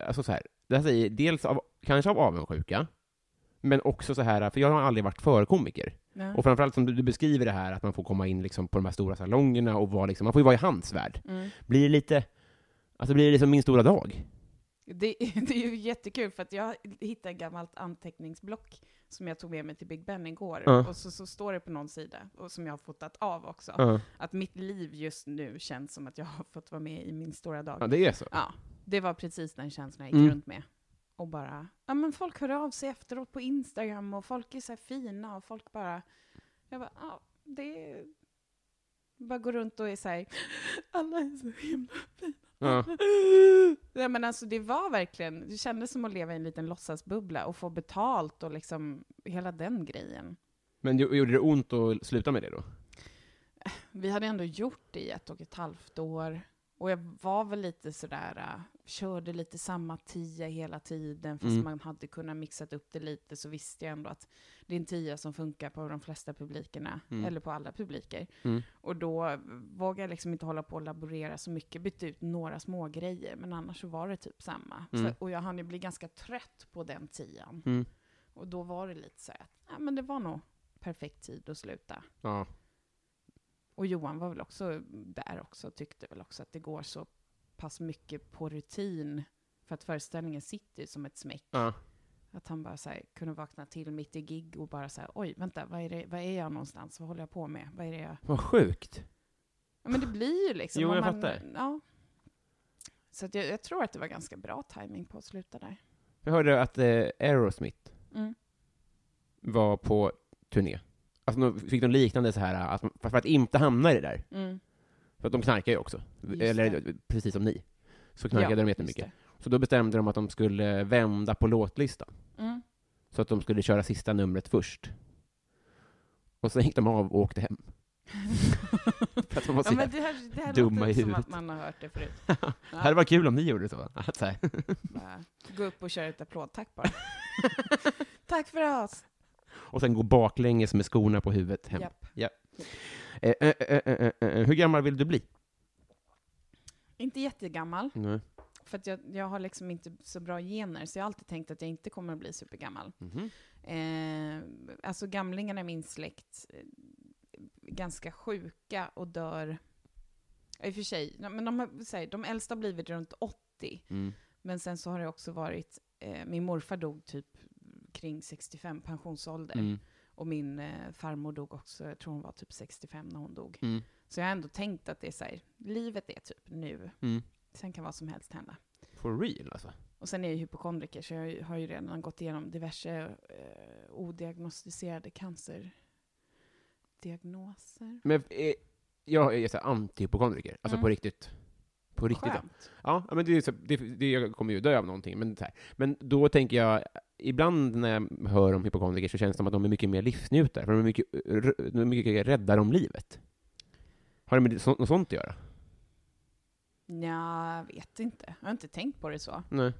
Speaker 1: alltså så här, det här säger dels av, kanske av avundsjuka, men också så här, för jag har aldrig varit förkomiker.
Speaker 2: Ja.
Speaker 1: Och framförallt som du, du beskriver det här, att man får komma in liksom på de här stora salongerna och vara liksom, man får ju vara i hans värld.
Speaker 2: Mm.
Speaker 1: Blir det lite, alltså blir det liksom min stora dag?
Speaker 2: Det, det är ju jättekul för att jag hittade ett gammalt anteckningsblock som jag tog med mig till Big Ben igår.
Speaker 1: Ja.
Speaker 2: Och så, så står det på någon sida, och som jag har fotat av också,
Speaker 1: Ja.
Speaker 2: att mitt liv just nu känns som att jag har fått vara med i min stora dag.
Speaker 1: Ja,
Speaker 2: Ja,
Speaker 1: det är så.
Speaker 2: det var precis den känslan jag gick
Speaker 1: Mm.
Speaker 2: runt med. Och bara, ja men folk hör av sig efteråt på Instagram och folk är så här fina och folk bara, jag bara, ja det är... Bara gå runt och är så här, alla är så himla
Speaker 1: Ja.
Speaker 2: Nej, men alltså det var verkligen, det kändes som att leva i en liten låtsasbubbla och få betalt och liksom hela den grejen.
Speaker 1: Men gjo- gjorde det ont att sluta med det då?
Speaker 2: Vi hade ändå gjort det i ett och ett halvt år och jag var väl lite sådär, äh, körde lite samma tia hela tiden fast
Speaker 1: Mm.
Speaker 2: man hade kunnat mixat upp det lite så visste jag ändå att det är en tia som funkar på de flesta publikerna,
Speaker 1: Mm.
Speaker 2: eller på alla publiker.
Speaker 1: Mm.
Speaker 2: Och då äh, vågade jag liksom inte hålla på och laborera så mycket, bytte ut några små grejer men annars så var det typ samma.
Speaker 1: Mm.
Speaker 2: Så, och jag hann ju bli ganska trött på den tian.
Speaker 1: Mm.
Speaker 2: Och då var det lite så här att, ja men det var nog perfekt tid att sluta.
Speaker 1: Ja.
Speaker 2: Och Johan var väl också där också, tyckte väl också att det går så pass mycket på rutin, för att föreställningen sitter ju som ett smäck.
Speaker 1: ja.
Speaker 2: Att han bara så här, kunde vakna till mitt i gig och bara så här, oj, vänta, vad är, det, vad är jag någonstans? Vad håller jag på med? Vad är det jag...
Speaker 1: Vad sjukt.
Speaker 2: Ja, men det blir ju liksom...
Speaker 1: Jo,
Speaker 2: om
Speaker 1: jag
Speaker 2: man,
Speaker 1: fattar.
Speaker 2: Ja. Så att jag, jag tror att det var ganska bra timing på att sluta där.
Speaker 1: Jag hörde att eh, Aerosmith
Speaker 2: Mm.
Speaker 1: var på turné. Alltså, de fick de liknande så här, eh, att, fast för att inte hamna i det där.
Speaker 2: Mm.
Speaker 1: För att de knarkar ju också.
Speaker 2: Just
Speaker 1: Eller precis som ni. Så knarkade
Speaker 2: Ja,
Speaker 1: de
Speaker 2: just
Speaker 1: jättemycket. Så då bestämde de att de skulle vända på låtlistan.
Speaker 2: det. Mm.
Speaker 1: Så att de skulle köra sista numret först. Och sen gick de av och åkte hem. för att de var så
Speaker 2: Ja, men
Speaker 1: jävla-
Speaker 2: det här, det här
Speaker 1: dumma i
Speaker 2: låter som att
Speaker 1: huvudet.
Speaker 2: man har hört det förut.
Speaker 1: Det hade varit kul om ni gjorde så. Att så här.
Speaker 2: Bara, gå upp och köra ett applådtack bara. Tack för oss!
Speaker 1: Och sen gå baklänges med skorna på huvudet hem.
Speaker 2: Japp.
Speaker 1: Eh, eh, eh, eh, eh, eh. Hur gammal vill du bli?
Speaker 2: Inte jättegammal, för att jag, jag har liksom inte så bra gener, så jag har alltid tänkt att jag inte kommer att bli supergammal.
Speaker 1: Mhm.
Speaker 2: Eh, alltså gamlingarna i min släkt, eh, ganska sjuka och dör, ja, i och för sig, ja, men de, har, så här, de äldsta har blivit runt 80,
Speaker 1: Mm.
Speaker 2: men sen så har det också varit, eh, min morfar dog typ kring 65, pensionsålder,
Speaker 1: Mm.
Speaker 2: och min eh, farmor dog också, jag tror hon var typ 65 när hon dog.
Speaker 1: Mm.
Speaker 2: Så jag har ändå tänkt att det är så här, livet är typ nu,
Speaker 1: Mm.
Speaker 2: sen kan vad som helst hända.
Speaker 1: For real alltså?
Speaker 2: Och sen är jag ju hypokondriker, så jag har ju- har ju redan gått igenom diverse eh, odiagnostiserade cancerdiagnoser.
Speaker 1: Men eh, jag är så här antihypokondriker. Alltså
Speaker 2: Mm.
Speaker 1: på riktigt. På riktigt. ja.
Speaker 2: Skönt.
Speaker 1: Ja, ja, men det, är så, det, det jag kommer ju dö av någonting. Men, så här. men då tänker jag, ibland när jag hör om hypokondriker så känns det som att de är mycket mer livsnjutare, för de är mycket, r- de är mycket räddare om livet. Har det med det- så, något sånt att göra?
Speaker 2: Nja, jag vet inte. Jag har inte tänkt på det så.
Speaker 1: Nej.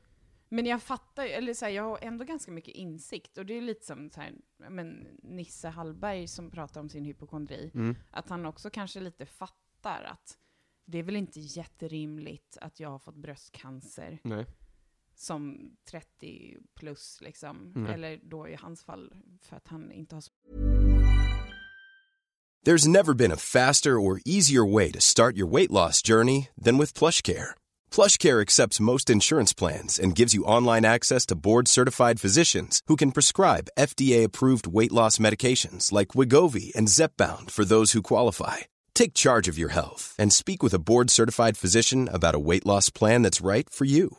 Speaker 2: Men jag fattar ju, eller så här, jag har ändå ganska mycket insikt. Och det är lite som så här, ja, men, Nisse Hallberg som pratar om sin hypokondri.
Speaker 1: Mm.
Speaker 2: Att han också kanske lite fattar att det är väl inte jätterimligt att jag har fått bröstcancer.
Speaker 1: Nej.
Speaker 2: som 30 plus liksom.
Speaker 1: Mm.
Speaker 2: Eller då i hans fall för att han inte har så
Speaker 3: There's never been a faster or easier way to start your weight loss journey than with PlushCare. PlushCare accepts most insurance plans and gives you online access to board-certified physicians who can prescribe FDA-approved weight loss medications like Wigovi and Zepbound for those who qualify. Take charge of your health and speak with a board-certified physician about a weight loss plan that's right for you.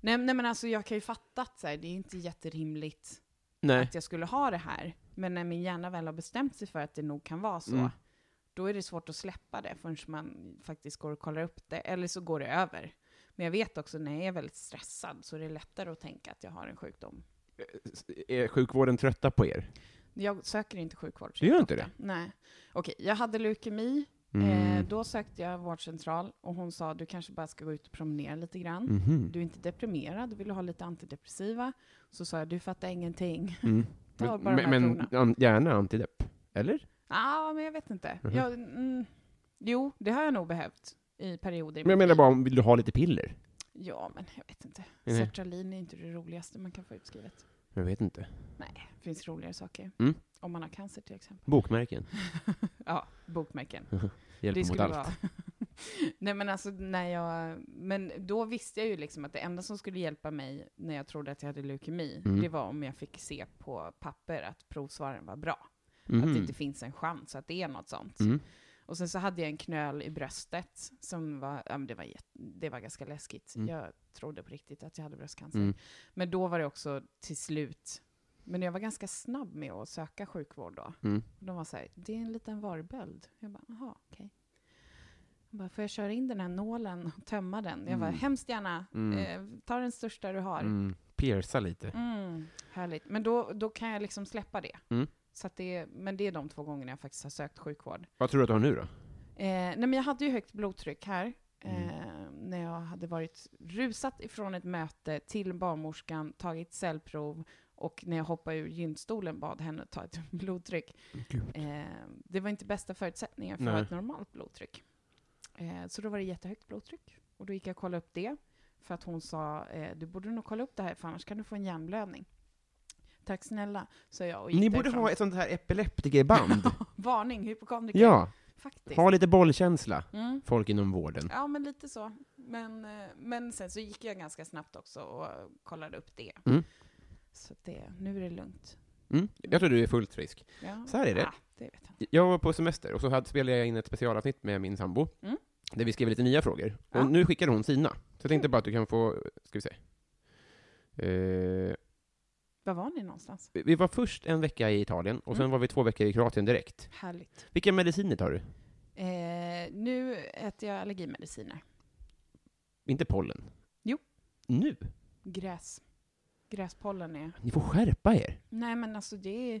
Speaker 2: Nej, nej men alltså jag kan ju fatta att så här, det är inte jätterimligt
Speaker 1: Nej.
Speaker 2: att jag skulle ha det här. Men när min hjärna väl har bestämt sig för att det nog kan vara så,
Speaker 1: Mm.
Speaker 2: då är det svårt att släppa det förrän man faktiskt går och kollar upp det. Eller så går det över. Men jag vet också när jag är väldigt stressad så är det lättare att tänka att jag har en sjukdom.
Speaker 1: Är sjukvården trötta på er?
Speaker 2: Jag söker inte sjukvård.
Speaker 1: Du gör inte
Speaker 2: jätteofta. Nej. Okej, jag hade leukemi.
Speaker 1: Mm.
Speaker 2: Eh, då sökte jag vårdcentral och hon sa du kanske bara ska gå ut och promenera lite grann.
Speaker 1: Mhm.
Speaker 2: Du är inte deprimerad, du vill ha lite antidepressiva. Så sa jag, du fattar ingenting.
Speaker 1: Mm.
Speaker 2: Ta bara de
Speaker 1: men
Speaker 2: här
Speaker 1: men
Speaker 2: proverna.
Speaker 1: an, gärna antidepp, eller?
Speaker 2: Ja, men jag vet inte.
Speaker 1: Mhm.
Speaker 2: Jag, mm, jo, det har jag nog behövt i perioder. i
Speaker 1: Men jag
Speaker 2: mitt
Speaker 1: menar
Speaker 2: liv.
Speaker 1: bara, om- vill du ha lite piller?
Speaker 2: Ja, men jag vet inte.
Speaker 1: Nej.
Speaker 2: Sertralin är inte det roligaste man kan få utskrivet.
Speaker 1: Jag vet inte.
Speaker 2: Nej, det finns roligare saker.
Speaker 1: Mm.
Speaker 2: Om man har cancer till exempel.
Speaker 1: Bokmärken.
Speaker 2: Ja, bokmärken.
Speaker 1: Hjälper mot allt.
Speaker 2: Nej men alltså när jag... Men då visste jag ju liksom att det enda som skulle hjälpa mig när jag trodde att jag hade leukemi,
Speaker 1: Mm.
Speaker 2: det var om jag fick se på papper att provsvaren var bra. Att det
Speaker 1: Mhm.
Speaker 2: inte finns en chans att det är något sånt.
Speaker 1: Mm.
Speaker 2: Och sen så hade jag en knöl i bröstet som var, ja, men det, var jätte, det var ganska läskigt.
Speaker 1: Mm.
Speaker 2: Jag trodde på riktigt att jag hade bröstcancer.
Speaker 1: Mm.
Speaker 2: Men då var det också till slut, men jag var ganska snabb med att söka sjukvård då.
Speaker 1: Mm.
Speaker 2: De var så här, det är en liten varböld. Jag bara, jaha, okej. Jag bara, får jag köra in den här nålen och tömma den? Jag bara,
Speaker 1: Mm.
Speaker 2: hemskt gärna.
Speaker 1: Mm.
Speaker 2: Eh, ta den största du har. Mm.
Speaker 1: Mm. Pierca lite.
Speaker 2: härligt. Men då, då kan jag liksom släppa det.
Speaker 1: Mm.
Speaker 2: Så att det. Men det är de två gångerna jag faktiskt har sökt sjukvård.
Speaker 1: Vad tror du att du har nu då?
Speaker 2: Eh, nej men jag hade ju högt blodtryck här. Eh,
Speaker 1: Mm.
Speaker 2: när jag hade varit rusat ifrån ett möte till barnmorskan, tagit cellprov och när jag hoppade ur gynstolen bad henne ta ett blodtryck. Eh, det var inte bästa förutsättningar för
Speaker 1: Nej.
Speaker 2: ett normalt blodtryck. Eh, så då var det jättehögt blodtryck. Och då gick jag och kollade upp det. För att hon sa, eh, du borde nog kolla upp det här för annars kan du få en hjärnblödning. Tack snälla, sa jag och liksom- gick
Speaker 1: Ni borde
Speaker 2: därifrån.
Speaker 1: ha ett sånt här epileptikerband.
Speaker 2: Varning, hypokondriker.
Speaker 1: ja,
Speaker 2: Faktiskt.
Speaker 1: ha lite bollkänsla,
Speaker 2: Mm.
Speaker 1: folk inom vården.
Speaker 2: Ja, men lite så. Men, eh, men sen så gick jag ganska snabbt också och kollade upp det.
Speaker 1: Mm.
Speaker 2: Så att det, nu är det lugnt.
Speaker 1: Mm. Jag tror du är fullt frisk.
Speaker 2: Ja.
Speaker 1: Så här är det.
Speaker 2: Ah, det vet jag.
Speaker 1: Jag var på semester och så hade, spelade jag in ett specialavsnitt med min sambo,
Speaker 2: Mm.
Speaker 1: där vi skrev lite nya frågor.
Speaker 2: Ja.
Speaker 1: Och nu skickade hon sina. Så jag tänkte bara att du kan få, ska vi se. Eh,
Speaker 2: Var var ni någonstans?
Speaker 1: vi- vi var först en vecka i Italien, och sen
Speaker 2: Mm.
Speaker 1: var vi två veckor i Kroatien direkt.
Speaker 2: Härligt.
Speaker 1: Vilka mediciner tar du?
Speaker 2: Eh, nu äter jag allergimediciner.
Speaker 1: Inte pollen?
Speaker 2: Jo.
Speaker 1: Nu?
Speaker 2: Gräs. Gräspollen är...
Speaker 1: Ni får skärpa er.
Speaker 2: Nej, men alltså det är...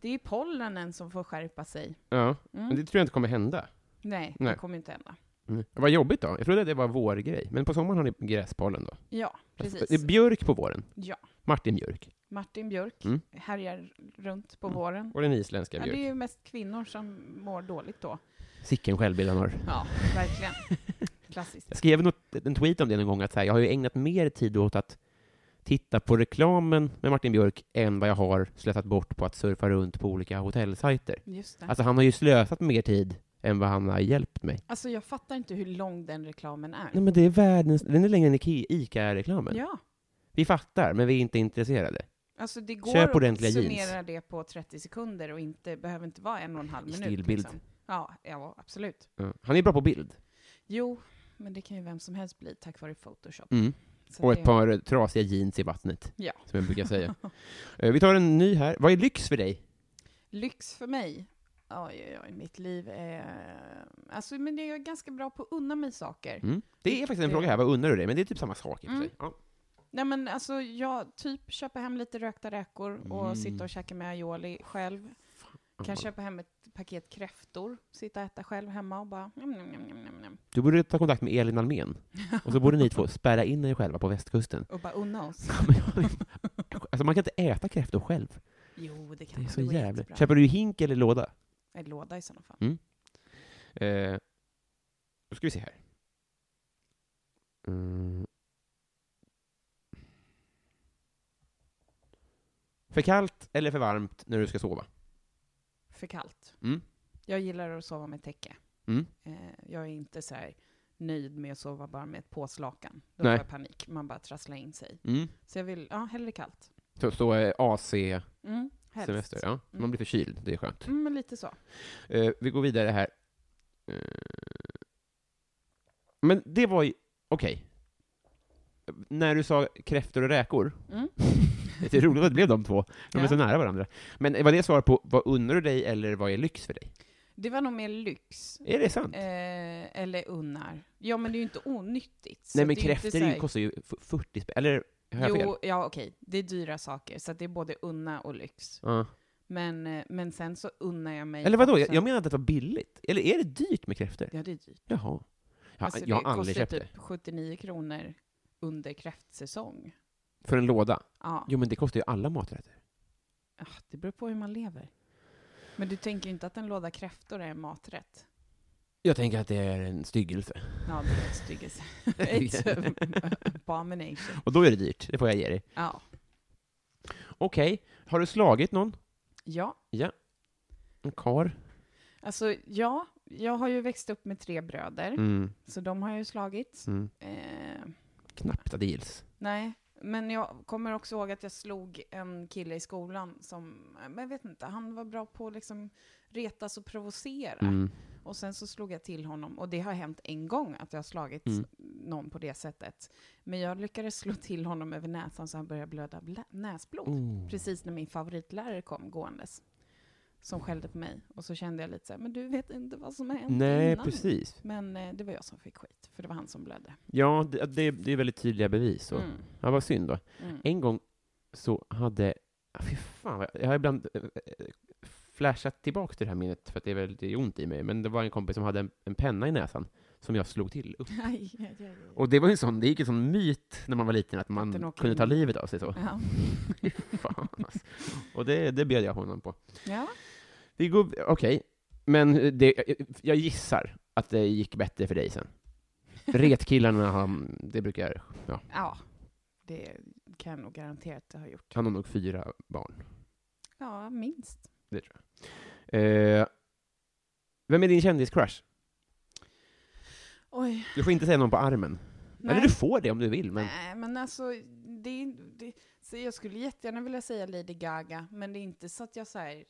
Speaker 2: Det är pollenen som får skärpa sig.
Speaker 1: Ja,
Speaker 2: Mm.
Speaker 1: men det tror jag inte kommer hända.
Speaker 2: Nej,
Speaker 1: Nej.
Speaker 2: det kommer inte hända.
Speaker 1: Mm. Vad jobbigt då. Jag trodde det var vår grej. Men på sommaren har ni gräspollen då?
Speaker 2: Ja,
Speaker 1: Det är
Speaker 2: precis.
Speaker 1: björk på våren.
Speaker 2: Ja.
Speaker 1: Martin Björk.
Speaker 2: Martin Björk
Speaker 1: Mm.
Speaker 2: härjar runt på
Speaker 1: Mm.
Speaker 2: våren.
Speaker 1: Och den isländska
Speaker 2: Ja,
Speaker 1: Björk.
Speaker 2: det är ju mest kvinnor som mår dåligt då.
Speaker 1: Sicken självbild han har.
Speaker 2: Ja, verkligen. Klassiskt.
Speaker 1: Jag skrev något, en tweet om det någon gång, att så här, jag har ju ägnat mer tid åt att titta på reklamen med Martin Björk än vad jag har slösat bort på att surfa runt på olika hotellsajter.
Speaker 2: Just det. Alltså,
Speaker 1: Alltså han har ju slösat mer tid än vad han har hjälpt mig.
Speaker 2: Alltså, jag fattar inte hur lång den reklamen är.
Speaker 1: Nej men det är världens, den är längre än Ike- ICA-reklamen.
Speaker 2: Ja.
Speaker 1: Vi fattar, men vi är inte intresserade.
Speaker 2: Alltså det går
Speaker 1: Köp ordentliga
Speaker 2: att
Speaker 1: jeans.
Speaker 2: summera det på 30 sekunder och inte, behöver inte vara en och en halv minut.
Speaker 1: Stillbild.
Speaker 2: Liksom. Ja, ja, absolut.
Speaker 1: Ja. Han är bra på bild.
Speaker 2: Jo, men det kan ju vem som helst bli tack vare Photoshop.
Speaker 1: Mm.
Speaker 2: Så
Speaker 1: Och
Speaker 2: det-
Speaker 1: ett par trasiga jeans i vattnet,
Speaker 2: Ja.
Speaker 1: som jag brukar säga. Eh, vi tar en ny här. Vad är lyx för dig?
Speaker 2: Lyx för mig? Oj, oj, oj, mitt liv är... Alltså, men jag är ganska bra på att unna mig saker.
Speaker 1: Mm. Det är faktiskt en
Speaker 2: Det-
Speaker 1: fråga här, vad undrar du dig? Men det är typ samma sak i och för
Speaker 2: Mm.
Speaker 1: sig. Ja.
Speaker 2: Nej men alltså, jag typ köper hem lite rökta räkor och
Speaker 1: Mm.
Speaker 2: sitta och käka med aioli själv. Kan
Speaker 1: vad-
Speaker 2: köpa hem ett paket kräftor, sitta och äta själv hemma och bara... Mm, Njam, njam, njam, njam, njam, njam.
Speaker 1: Du borde ta kontakt med Elin Almen. Och så borde ni två spärra in er själva på västkusten.
Speaker 2: Och bara unna oss.
Speaker 1: Alltså man kan inte äta kräftor själv.
Speaker 2: Jo, det kan
Speaker 1: Det är
Speaker 2: man.
Speaker 1: så
Speaker 2: går
Speaker 1: jävligt.
Speaker 2: jättebra.
Speaker 1: Köper du hink eller låda?
Speaker 2: En låda i sådana fall.
Speaker 1: Eh, då ska vi se här. Mm. För kallt eller för varmt när du ska sova?
Speaker 2: För kallt.
Speaker 1: Mm.
Speaker 2: Jag gillar att sova med täcke.
Speaker 1: Mm.
Speaker 2: Eh, jag är inte så här nöjd med att sova bara med ett påslakan. Då
Speaker 1: Nej.
Speaker 2: får jag panik. Man bara trasslar in sig.
Speaker 1: Mm.
Speaker 2: Så jag vill, ja, hellre kallt.
Speaker 1: Så, så eh, AC-semester,
Speaker 2: Mm, helst.
Speaker 1: ja. Man
Speaker 2: Mm.
Speaker 1: blir förkyld, det är skönt.
Speaker 2: Mm, men lite så.
Speaker 1: Eh, vi går vidare här. Eh, men det var ju, okej. När du sa kräftor och räkor,
Speaker 2: Mm.
Speaker 1: det är roligt att det blev de två, de är
Speaker 2: Ja.
Speaker 1: så nära varandra. Men var det svar på, vad unnar du dig eller vad är lyx för dig?
Speaker 2: Det var nog mer lyx.
Speaker 1: Är det sant?
Speaker 2: Eh, eller unnar. Ja, men det är ju inte onyttigt. så
Speaker 1: Nej men
Speaker 2: det är ju inte
Speaker 1: kräftor
Speaker 2: så
Speaker 1: är
Speaker 2: här-
Speaker 1: ju, kostar ju f- 40 spänn, eller har jag fel?
Speaker 2: Jo, ja okej. Det är dyra saker, så att det är både unna och lyx.
Speaker 1: Ja.
Speaker 2: Men, eh, men sen så unnar jag mig
Speaker 1: Eller vadå, jag,
Speaker 2: också-
Speaker 1: jag menar att det var billigt. Eller är det dyrt med kräftor?
Speaker 2: Ja, det är dyrt.
Speaker 1: Jaha. Jag,
Speaker 2: Alltså,
Speaker 1: jag
Speaker 2: det
Speaker 1: har aldrig
Speaker 2: kostar
Speaker 1: köpt det.
Speaker 2: typ 79 kronor under kräftsäsong.
Speaker 1: För en låda?
Speaker 2: Ja,
Speaker 1: Jo men det kostar ju alla maträtter.
Speaker 2: ah, det beror på hur man lever. Men du tänker ju inte att en låda kräftor är en maträtt?
Speaker 1: Jag tänker att det är en styggelse.
Speaker 2: Ja, det är en styggelse. It's a typ abomination.
Speaker 1: Och då är det dyrt, det får jag ge dig.
Speaker 2: Ja.
Speaker 1: Okej, har du slagit någon?
Speaker 2: ja,
Speaker 1: En kar?
Speaker 2: alltså ja, jag har ju växt upp med tre bröder,
Speaker 1: Mm.
Speaker 2: så de har jag ju slagit.
Speaker 1: Mm.
Speaker 2: Eh,
Speaker 1: Knappt att det gills.
Speaker 2: Nej, men jag kommer också ihåg att jag slog en kille i skolan som, men jag vet inte, han var bra på att liksom retas och provocera.
Speaker 1: Mm.
Speaker 2: Och sen så slog jag till honom, och det har hänt en gång att jag har slagit
Speaker 1: Mm.
Speaker 2: någon på det sättet. Men jag lyckades slå till honom över näsan så han började blöda blä- näsblod.
Speaker 1: Oh.
Speaker 2: Precis när min favoritlärare kom gåendes. Som skällde på mig. Och så kände jag lite så här, men du vet inte vad som har hänt
Speaker 1: Nej,
Speaker 2: innan.
Speaker 1: precis.
Speaker 2: Men eh, det var jag som fick skit, för det var han som blödde.
Speaker 1: Ja, det, det, det är väldigt tydliga bevis. Så.
Speaker 2: Mm,
Speaker 1: Ja, vad synd då.
Speaker 2: mm.
Speaker 1: En gång så hade... ah, Fy fan, vad jag- jag har ibland eh, eh, flashat tillbaka till det här minnet för att det är väldigt ont i mig. Men det var en kompis som hade en, en penna i näsan som jag slog till upp.
Speaker 2: Aj, aj, aj, aj.
Speaker 1: Och det var ju en sån, det gick en sån myt när man var liten att
Speaker 2: Att den
Speaker 1: man
Speaker 2: åker
Speaker 1: kunde ta
Speaker 2: in.
Speaker 1: livet av sig så.
Speaker 2: Ja.
Speaker 1: Fan, alltså. Och det, det bjöd jag honom på.
Speaker 2: ja.
Speaker 1: Vi går, okej. Men det, jag- jag gissar att det gick bättre för dig sen. Retkillarna, han, det brukar, ja,
Speaker 2: Ja, det kan jag nog garantera att det har gjort.
Speaker 1: han har nog fyra barn.
Speaker 2: Ja, minst.
Speaker 1: Eh, vem är din kändiscrush?
Speaker 2: Oj.
Speaker 1: Du får inte säga någon på armen. Eller du får det om du vill, men
Speaker 2: Nej, men alltså, det, är- det, så jag skulle jättegärna vilja säga Lady Gaga, men det är inte så att jag säger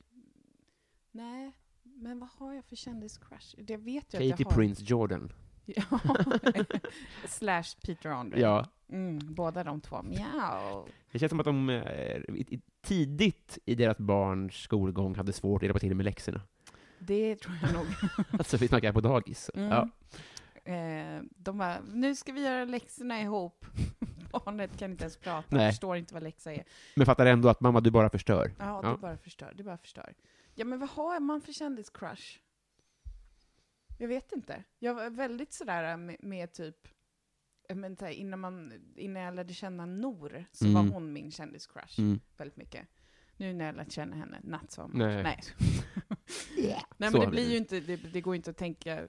Speaker 2: nej, men vad har jag för kändiscrush? Det vet jag att
Speaker 1: Katy
Speaker 2: jag har.
Speaker 1: Prince Jordan.
Speaker 2: Ja. Slash Peter Andre.
Speaker 1: Ja.
Speaker 2: Mm, båda de två. Mjau.
Speaker 1: Det känns som att de eh, i- i- tidigt i deras barns skolgång hade svårt att hjälpa till med läxorna.
Speaker 2: Det tror jag nog.
Speaker 1: Alltså, vi snackar på dagis.
Speaker 2: Mm.
Speaker 1: Ja.
Speaker 2: Eh, de bara, nu ska vi göra läxorna ihop. Barnet kan inte ens prata,
Speaker 1: Nej.
Speaker 2: förstår inte vad läxa är.
Speaker 1: Men fattar ändå att mamma, du bara förstör.
Speaker 2: Ja,
Speaker 1: Ja.
Speaker 2: du bara förstör, du bara förstör. Ja, men vad har man för kändiscrush? Jag vet inte. Jag var väldigt sådär med, med typ, eh, men så här, innan, man, innan jag lärde känna Nor så
Speaker 1: Mm.
Speaker 2: var hon min kändiscrush
Speaker 1: Mm.
Speaker 2: väldigt mycket. Nu när jag lärt känna henne, not so much.
Speaker 1: Nej.
Speaker 2: Nej, Nej
Speaker 1: Så
Speaker 2: men det
Speaker 1: har
Speaker 2: blir
Speaker 1: vi
Speaker 2: ju inte, det, det går ju inte att tänka,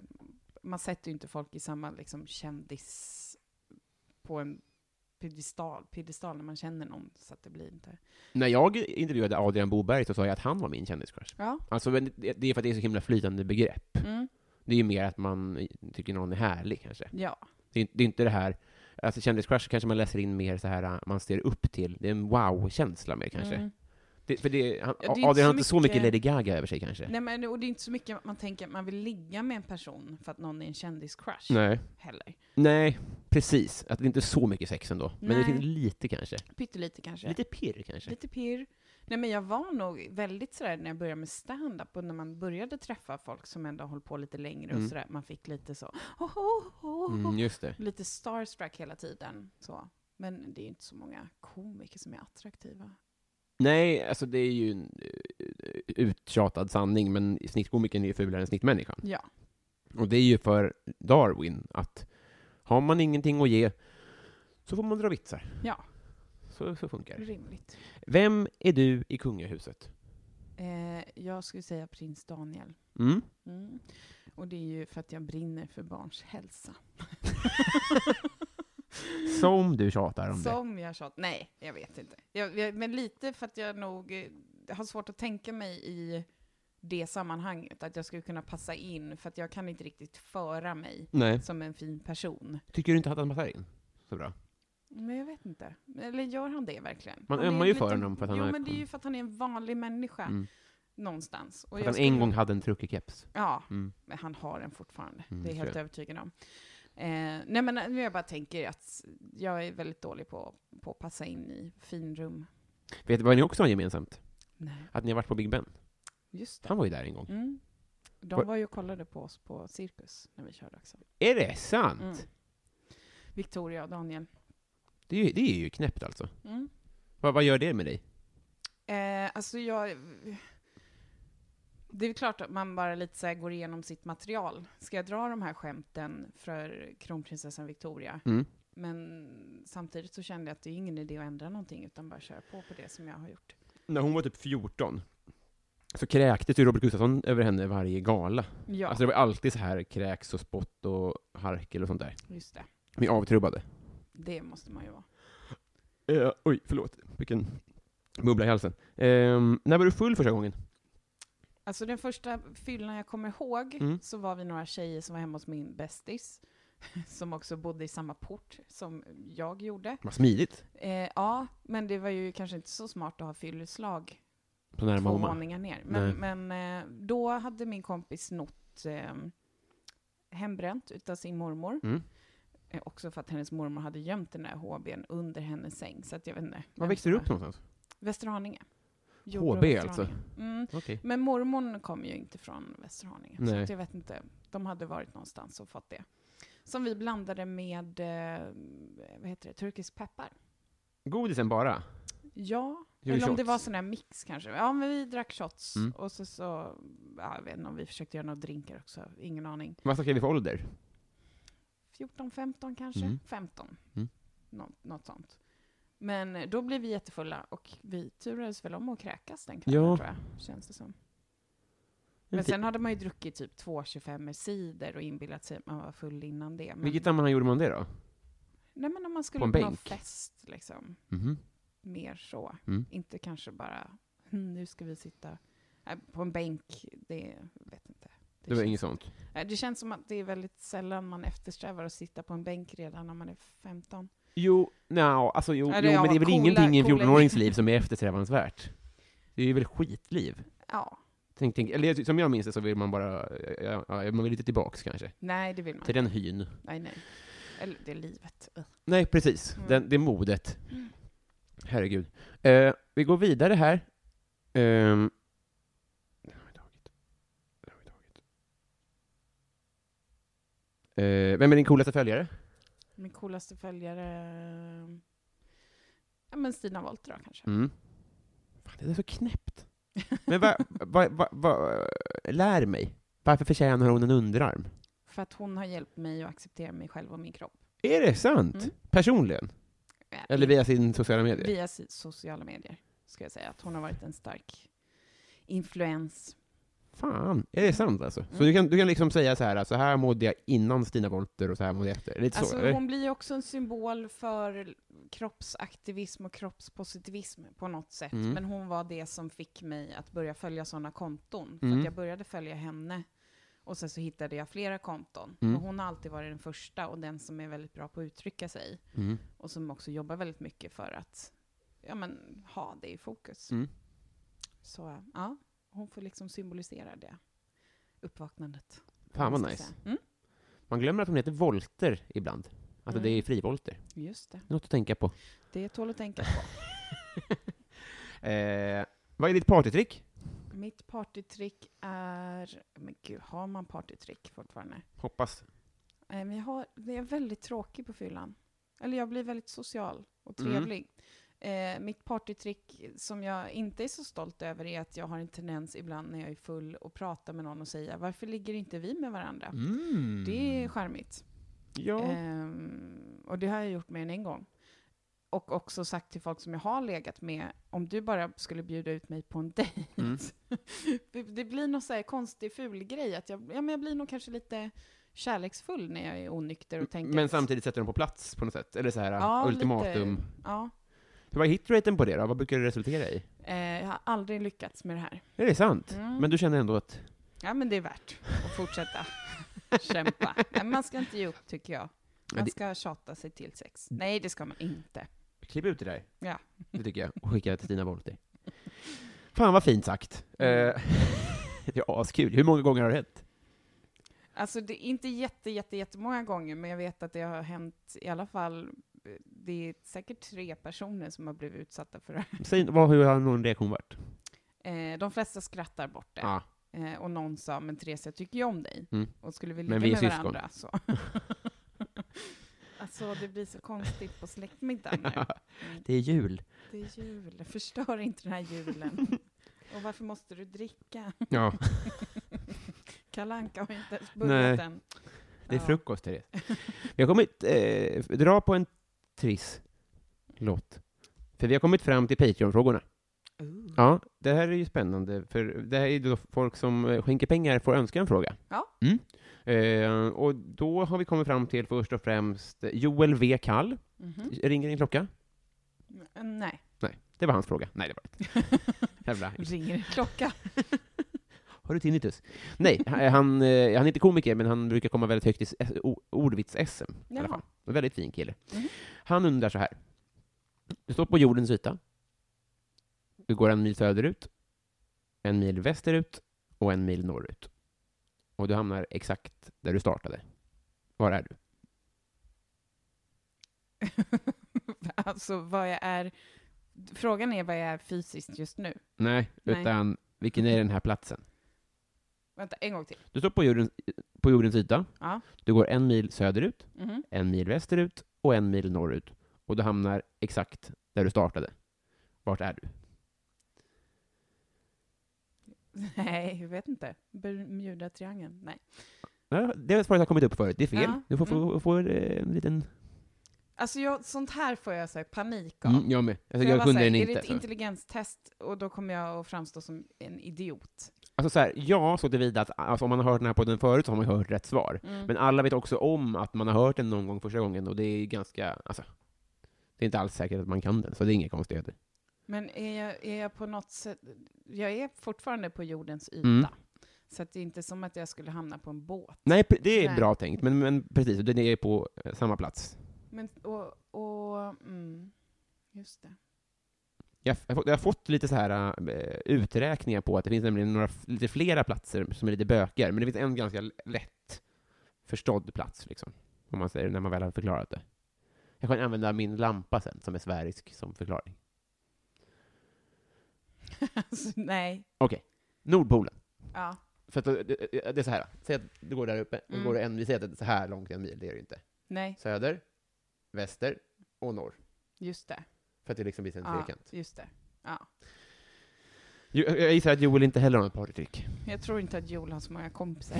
Speaker 2: man sätter ju inte folk i samma liksom, kändis på en piedestal, piedestal när man känner någon, så att det blir inte.
Speaker 1: När jag intervjuade Adrian Boberg så sa jag att han var min kändiscrush.
Speaker 2: Ja.
Speaker 1: Alltså, men det det är för att det är så himla flytande begrepp.
Speaker 2: Mm.
Speaker 1: Det är ju mer att man tycker någon är härlig, kanske.
Speaker 2: Ja.
Speaker 1: Det är, det är inte det här... Alltså kändiscrush kanske man läser in mer så här, äh, man ser upp till. Det är en wow-känsla mer, kanske.
Speaker 2: Mm.
Speaker 1: Det, för det, han,
Speaker 2: Ja, det
Speaker 1: Adrian
Speaker 2: är inte
Speaker 1: har
Speaker 2: så
Speaker 1: inte så mycket
Speaker 2: mycket-
Speaker 1: Lady Gaga över sig, kanske.
Speaker 2: Nej, men, det- och det är inte så mycket att man tänker att man vill ligga med en person för att någon är en kändiscrush
Speaker 1: Nej.
Speaker 2: heller.
Speaker 1: Nej, precis. Att det inte är så mycket sex ändå. Men det
Speaker 2: Nej.
Speaker 1: finns lite, kanske.
Speaker 2: Pyttelite kanske.
Speaker 1: Lite pirr, kanske.
Speaker 2: Lite pirr. Nej men jag var nog väldigt sådär när jag började med stand-up och när man började träffa folk som ändå håller på lite längre
Speaker 1: Mm.
Speaker 2: och sådär, man fick lite så, oh, oh, oh,
Speaker 1: Mm, just det.
Speaker 2: lite starstruck hela tiden. Så. Men det är ju inte så många komiker som är attraktiva.
Speaker 1: Nej, alltså det är ju en eh, uttjatad sanning, men snittkomikern är ju fulare än snittmänniskan.
Speaker 2: Ja.
Speaker 1: Och det är ju för Darwin att har man ingenting att ge så får man dra vitsar.
Speaker 2: Ja,
Speaker 1: Så, så funkar det.
Speaker 2: rimligt.
Speaker 1: Vem är du i kungahuset?
Speaker 2: Eh, jag skulle säga prins Daniel.
Speaker 1: Mm.
Speaker 2: Mm. Och det är ju för att jag brinner för barns hälsa.
Speaker 1: Som du tjatar om det.
Speaker 2: Som jag tjatar. Nej, jag vet inte. Jag, jag, men lite för att jag nog eh, har svårt att tänka mig i det sammanhanget, att jag skulle kunna passa in, för att jag kan inte riktigt föra mig
Speaker 1: Nej.
Speaker 2: som en fin person.
Speaker 1: Tycker du inte att han passar in så bra?
Speaker 2: Men jag vet inte. Eller gör han det verkligen?
Speaker 1: Man
Speaker 2: Han är
Speaker 1: ömmar ju
Speaker 2: en
Speaker 1: för
Speaker 2: liten-
Speaker 1: honom för att han
Speaker 2: Jo,
Speaker 1: är-
Speaker 2: men det är ju för att han är en vanlig människa
Speaker 1: Mm.
Speaker 2: någonstans. Och
Speaker 1: Att
Speaker 2: jag
Speaker 1: han
Speaker 2: skulle-
Speaker 1: en gång hade en truckig keps.
Speaker 2: Ja,
Speaker 1: Mm.
Speaker 2: men han har den fortfarande.
Speaker 1: Mm,
Speaker 2: det är jag helt
Speaker 1: tror jag.
Speaker 2: övertygad om. Eh, nej, men nu jag bara tänker att jag är väldigt dålig på, på att passa in i finrum.
Speaker 1: Vet du vad ni också har gemensamt?
Speaker 2: Nej,
Speaker 1: Att ni har varit på Big Ben.
Speaker 2: just det.
Speaker 1: Han var ju där en gång.
Speaker 2: Mm.
Speaker 1: Var-
Speaker 2: De var ju och kollade på oss på Cirkus när vi körde också.
Speaker 1: Är det sant?
Speaker 2: Mm. Victoria och Daniel.
Speaker 1: Det, är ju, det är ju knäppt alltså.
Speaker 2: Mm.
Speaker 1: Vad, vad gör det med dig?
Speaker 2: Eh, alltså jag... Det är väl klart att man bara lite så här går igenom sitt material. Ska jag dra de här skämten för kronprinsessan Victoria?
Speaker 1: Mm.
Speaker 2: Men samtidigt så kände jag att det är ingen idé att ändra någonting utan bara köra på på det som jag har gjort.
Speaker 1: När hon var typ 14 så kräktes ju Robert Gustafsson över henne varje gala.
Speaker 2: Ja,
Speaker 1: Alltså det var alltid så här kräks och spott och harkel och sånt där.
Speaker 2: just det.
Speaker 1: Vi avtrubbade.
Speaker 2: Det måste man ju vara.
Speaker 1: Eh, oj, förlåt. Vilken bubbla i halsen. Eh, när var du full första gången?
Speaker 2: Alltså den första fyllan jag kommer ihåg
Speaker 1: Mm.
Speaker 2: så var vi några tjejer som var hemma hos min bästis. Som också bodde i samma port som jag gjorde.
Speaker 1: Vad smidigt.
Speaker 2: Eh, ja, men det var ju kanske inte så smart att ha fylleslag
Speaker 1: På nära
Speaker 2: två
Speaker 1: mamma.
Speaker 2: våningar ner. Men, men eh, då hade min kompis snott eh, hembränt utav sin mormor.
Speaker 1: Mm.
Speaker 2: Eh, också för att hennes mormor hade gömt den där HBn under hennes säng. Så att jag vet inte.
Speaker 1: Var
Speaker 2: vem
Speaker 1: växte
Speaker 2: som
Speaker 1: du
Speaker 2: var-
Speaker 1: upp någonstans?
Speaker 2: Västerhaninge.
Speaker 1: HB alltså?
Speaker 2: Västerhaninge. Mm.
Speaker 1: Okej.
Speaker 2: Men mormor kom ju inte från Västerhaninge.
Speaker 1: Nej.
Speaker 2: Så att jag vet inte. De hade varit någonstans och fått det. Som vi blandade med, eh, vad heter det, turkisk peppar.
Speaker 1: Godisen bara?
Speaker 2: Ja,
Speaker 1: Gjorde
Speaker 2: eller om det
Speaker 1: shots.
Speaker 2: var sån här mix kanske. Ja, men vi drack shots.
Speaker 1: Mm.
Speaker 2: Och så, så ja, jag vet inte om vi försökte göra några drinkar också. Ingen aning.
Speaker 1: Vad snackar vi för ålder?
Speaker 2: 14, 15 kanske?
Speaker 1: Mm.
Speaker 2: 15.
Speaker 1: Mm.
Speaker 2: Nå- något sånt. Men eh, då blev vi jättefulla och vi turades väl om att kräkas den
Speaker 1: Ja.
Speaker 2: kvällen tror jag. Känns det som. Men sen hade man ju druckit typ två 25 cider och inbillat sig att man var full innan det. Men,
Speaker 1: Vilket sammanhang gjorde man det då?
Speaker 2: nej men om man skulle
Speaker 1: en
Speaker 2: på, någon
Speaker 1: bänk?
Speaker 2: fest liksom.
Speaker 1: Mhm.
Speaker 2: mer så.
Speaker 1: Mm.
Speaker 2: Inte kanske bara, "Hm, nu ska vi sitta Nej, på en bänk. Det vet inte.
Speaker 1: Det var
Speaker 2: känns-
Speaker 1: inget sånt?
Speaker 2: Nej, Det känns som att det är väldigt sällan man eftersträvar att sitta på en bänk redan när man är 15.
Speaker 1: Jo, no, alltså jo,
Speaker 2: Ja, det
Speaker 1: jo
Speaker 2: har
Speaker 1: men det är väl
Speaker 2: coola-
Speaker 1: ingenting i en
Speaker 2: coola-
Speaker 1: 14-årings liv som är eftersträvansvärt? Det är väl skitliv?
Speaker 2: Ja,
Speaker 1: Tänk, tänk, eller jag- som jag minns det så vill man bara, ja, ja, man vill lite tillbaks kanske.
Speaker 2: nej det vill man
Speaker 1: Till den hyn.
Speaker 2: Nej, nej. Eller det är livet. Ugh.
Speaker 1: Nej, precis.
Speaker 2: Mm.
Speaker 1: Den, det är modet. Herregud. Eh, vi går vidare här. Ehm. det har vi tagit. Det har vi tagit. Eh, vem är din coolaste följare?
Speaker 2: Min coolaste följare... eh, Ja, men Stina Wollter då kanske.
Speaker 1: Mm. Fan, det är så knäppt. Men va, va, va, va, lär mig. Varför förtjänar hon en underarm?
Speaker 2: För att hon har hjälpt mig att acceptera mig själv och min kropp.
Speaker 1: Är det sant?
Speaker 2: Mm.
Speaker 1: Personligen?
Speaker 2: Ja,
Speaker 1: Eller via sin sociala medier?
Speaker 2: Via si- sociala medier, ska jag säga. Att hon har varit en stark influens.
Speaker 1: Fan, är det sant alltså?
Speaker 2: Mm.
Speaker 1: Så du kan, du kan liksom säga så här, så här mådde jag innan Stina Wollter och så här mådde jag efter? Lite så,
Speaker 2: Alltså,
Speaker 1: eller?
Speaker 2: hon blir ju också en symbol för kroppsaktivism och kroppspositivism på något sätt.
Speaker 1: Mm.
Speaker 2: Men hon var det som fick mig att börja följa sådana konton. För
Speaker 1: Mm.
Speaker 2: att jag började följa henne och sen så hittade jag flera konton.
Speaker 1: Mm.
Speaker 2: Och hon har alltid varit den första och den som är väldigt bra på att uttrycka sig.
Speaker 1: Mm.
Speaker 2: Och som också jobbar väldigt mycket för att ja, men, ha det i fokus.
Speaker 1: Mm.
Speaker 2: Så ja, hon får liksom symbolisera det uppvaknandet.
Speaker 1: Fan vad
Speaker 2: måste jag
Speaker 1: nice.
Speaker 2: säga. Mm,
Speaker 1: Man glömmer att hon heter Volter ibland. Alltså
Speaker 2: Mm.
Speaker 1: det är frivolter.
Speaker 2: just det.
Speaker 1: Något att tänka på.
Speaker 2: Det tål att tänka på.
Speaker 1: Eh, vad är ditt partytrick?
Speaker 2: Mitt partytrick är... Men gud, har man partytrick fortfarande?
Speaker 1: Hoppas.
Speaker 2: Nej, men jag, har, jag är väldigt tråkig på fyllan. Eller jag blir väldigt social och
Speaker 1: Mm.
Speaker 2: trevlig. Eh, mitt partytrick som jag inte är så stolt över är att jag har en tendens ibland när jag är full och pratar med någon och säga varför ligger inte vi med varandra?
Speaker 1: Mm.
Speaker 2: Det är eh, charmigt.
Speaker 1: Ja.
Speaker 2: Ehm, och det har jag gjort mer än en gång. Och också sagt till folk som jag har legat med, om du bara skulle bjuda ut mig på en dejt.
Speaker 1: Mm.
Speaker 2: det, det blir någon så här konstig ful grej att jag, ja, men jag blir nog kanske lite kärleksfull när jag är onykter och tänker...
Speaker 1: Mm, Men
Speaker 2: att-
Speaker 1: samtidigt sätter de på plats på något sätt, eller så här
Speaker 2: Ja,
Speaker 1: ultimatum.
Speaker 2: lite. Ja.
Speaker 1: Hur var hitraten på det då? Vad brukar det resultera i?
Speaker 2: Eh, jag har aldrig lyckats med det här.
Speaker 1: Är det sant? Mm.
Speaker 2: Mm.
Speaker 1: Men du känner ändå att...
Speaker 2: Ja, men det är värt att fortsätta kämpa. Nej, man ska inte ge upp, tycker jag.
Speaker 1: Ja,
Speaker 2: Man
Speaker 1: det-
Speaker 2: ska tjata sig till sex. Nej, det ska man inte.
Speaker 1: Klipp ut det där.
Speaker 2: Ja.
Speaker 1: Det tycker jag. Och skicka till Stina Wolter. Fan vad fint sagt. Eh, det är askul. Hur många gånger har du rätt?
Speaker 2: Alltså, det är inte jätte, jätte, jättemånga gånger, men jag vet att det har hänt i alla fall. eh, Det är säkert tre personer som har blivit utsatta för det här.
Speaker 1: Säg, vad, hur har någon reaktion varit?
Speaker 2: Eh, de flesta skrattar bort det.
Speaker 1: Ja.
Speaker 2: Eh, och någon sa, men Therese, jag tycker ju om dig.
Speaker 1: Mm.
Speaker 2: Och skulle vi ligga
Speaker 1: Men vi
Speaker 2: med
Speaker 1: är syskon.
Speaker 2: varandra. Så. alltså, det blir så konstigt på släktmiddagen nu. Mm.
Speaker 1: Det är jul.
Speaker 2: Det är jul, förstör inte den här julen. Och varför måste du dricka?
Speaker 1: Ja,
Speaker 2: Kalanka har inte ens börjat
Speaker 1: Nej.
Speaker 2: än.
Speaker 1: det är
Speaker 2: Ja.
Speaker 1: frukost, Therese. Vi har kommit... Eh, dra på en triss låt. För vi har kommit fram till Patreon-frågorna. Ja, det här är ju spännande, för det här är ju då folk som eh, skänker pengar får önska en fråga.
Speaker 2: Ja.
Speaker 1: Mm. Eh, och då har vi kommit fram till först och främst Joel V. Kall.
Speaker 2: Mhm.
Speaker 1: Ringer din klocka?
Speaker 2: Mm, Nej,
Speaker 1: Det var hans fråga. Nej, det var det inte. Jävla-
Speaker 2: ringer en klocka.
Speaker 1: Har du tinnitus? Nej, han, han eh, han är inte komiker, men han brukar komma väldigt högt i s- eh, o- ordvits-SM. i alla
Speaker 2: Jaha.
Speaker 1: fall. En väldigt fin kille.
Speaker 2: Mhm.
Speaker 1: Han undrar så här. Du står på jordens yta. Du går en mil söderut, en mil västerut och en mil norrut. Och du hamnar exakt där du startade. Var är du?
Speaker 2: alltså, vad jag är... Frågan är vad jag är fysiskt just nu.
Speaker 1: Nej,
Speaker 2: Nej.
Speaker 1: utan vilken är den här platsen?
Speaker 2: Vänta, en gång till.
Speaker 1: Du står på jordens, på jordens yta.
Speaker 2: Ja.
Speaker 1: Du går en mil söderut,
Speaker 2: Mhm.
Speaker 1: en mil västerut och en mil norrut. Och du hamnar exakt där du startade. Vart är du?
Speaker 2: Nej, jag vet inte. Bermuda-triangeln? Nej.
Speaker 1: Ja, det svaret har kommit upp förut. Det är fel.
Speaker 2: Ja. Mm.
Speaker 1: Du får, få får eh, en liten...
Speaker 2: Alltså, jag, sånt här får jag så här, panik av.
Speaker 1: Mm, jag med. Alltså,
Speaker 2: För
Speaker 1: jag
Speaker 2: bara
Speaker 1: kunde
Speaker 2: så här,
Speaker 1: den
Speaker 2: Är det
Speaker 1: inte.
Speaker 2: ett
Speaker 1: så.
Speaker 2: intelligenstest och då kommer jag att framstå som en idiot.
Speaker 1: Alltså, så här, ja, så tillvida att alltså, om man har hört den här podden förut så har man ju hört rätt svar.
Speaker 2: Mm.
Speaker 1: Men alla vet också om att man har hört den någon gång första gången och det är ganska... Alltså, det är inte alls säkert att man kan den, så det är inga konstigheter.
Speaker 2: Men är jag, är jag på något sätt... Jag är fortfarande på jordens yta.
Speaker 1: Mm.
Speaker 2: Så att det är inte som att jag skulle hamna på en båt.
Speaker 1: Nej, pre- det är
Speaker 2: Nej.
Speaker 1: bra tänkt, men, men precis, den är på eh, samma plats.
Speaker 2: Men, och, och, mm, just det.
Speaker 1: Jag, jag, har fått- jag har fått lite så här eh, uträkningar på att det finns nämligen några, f- lite flera platser som är lite bökigare, men det finns en ganska l- lätt förstådd plats, liksom, om man säger, när man väl har förklarat det. Jag kan använda min lampa sen, som är sverisk, som förklaring.
Speaker 2: alltså, nej.
Speaker 1: Nordpolen.
Speaker 2: Ja.
Speaker 1: För att eh, det, eh, det är så här, säg att du går där uppe, och
Speaker 2: Mm.
Speaker 1: går du en, vi säger att det är så här långt en mil, det är det ju inte.
Speaker 2: Nej,
Speaker 1: Söder, väster och norr.
Speaker 2: just det.
Speaker 1: För att det liksom blir en
Speaker 2: Ja,
Speaker 1: trekant.
Speaker 2: just det. Ja.
Speaker 1: Jo, Jag jag gissar att Joel inte heller har något partytrick,
Speaker 2: Jag tror inte att Joel har så många kompisar.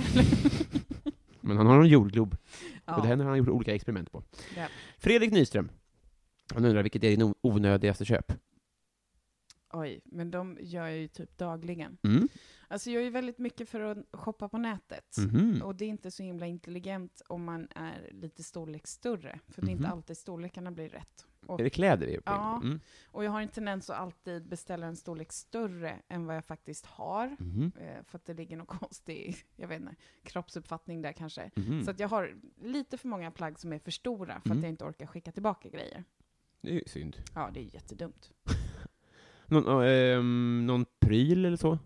Speaker 1: men han har en jordglob, och det
Speaker 2: ja,
Speaker 1: här har han gjort olika experiment på.
Speaker 2: det.
Speaker 1: Fredrik Nyström. Han undrar vilket är din o- onödigaste köp?
Speaker 2: Oj, men de gör jag ju typ dagligen.
Speaker 1: Mm.
Speaker 2: Alltså jag är ju väldigt mycket för att shoppa på nätet.
Speaker 1: Mhm.
Speaker 2: Och det är inte så himla intelligent om man är lite storleksstörre. För det är inte
Speaker 1: Mhm.
Speaker 2: alltid storlekarna blir rätt.
Speaker 1: Är det kläder vi är på?
Speaker 2: Ja.
Speaker 1: Mm.
Speaker 2: Och jag har en tendens att alltid beställa en storlek större än vad jag faktiskt har.
Speaker 1: Mhm.
Speaker 2: Eh, För att det ligger någon konstig, jag vet inte, kroppsuppfattning där kanske.
Speaker 1: Mhm.
Speaker 2: Så att jag har lite för många plagg som är för stora för
Speaker 1: Mm.
Speaker 2: att jag inte orkar skicka tillbaka grejer.
Speaker 1: Det är ju synd.
Speaker 2: Ja, det är jättedumt.
Speaker 1: Någon, ja, ehm, någon pryl eller så?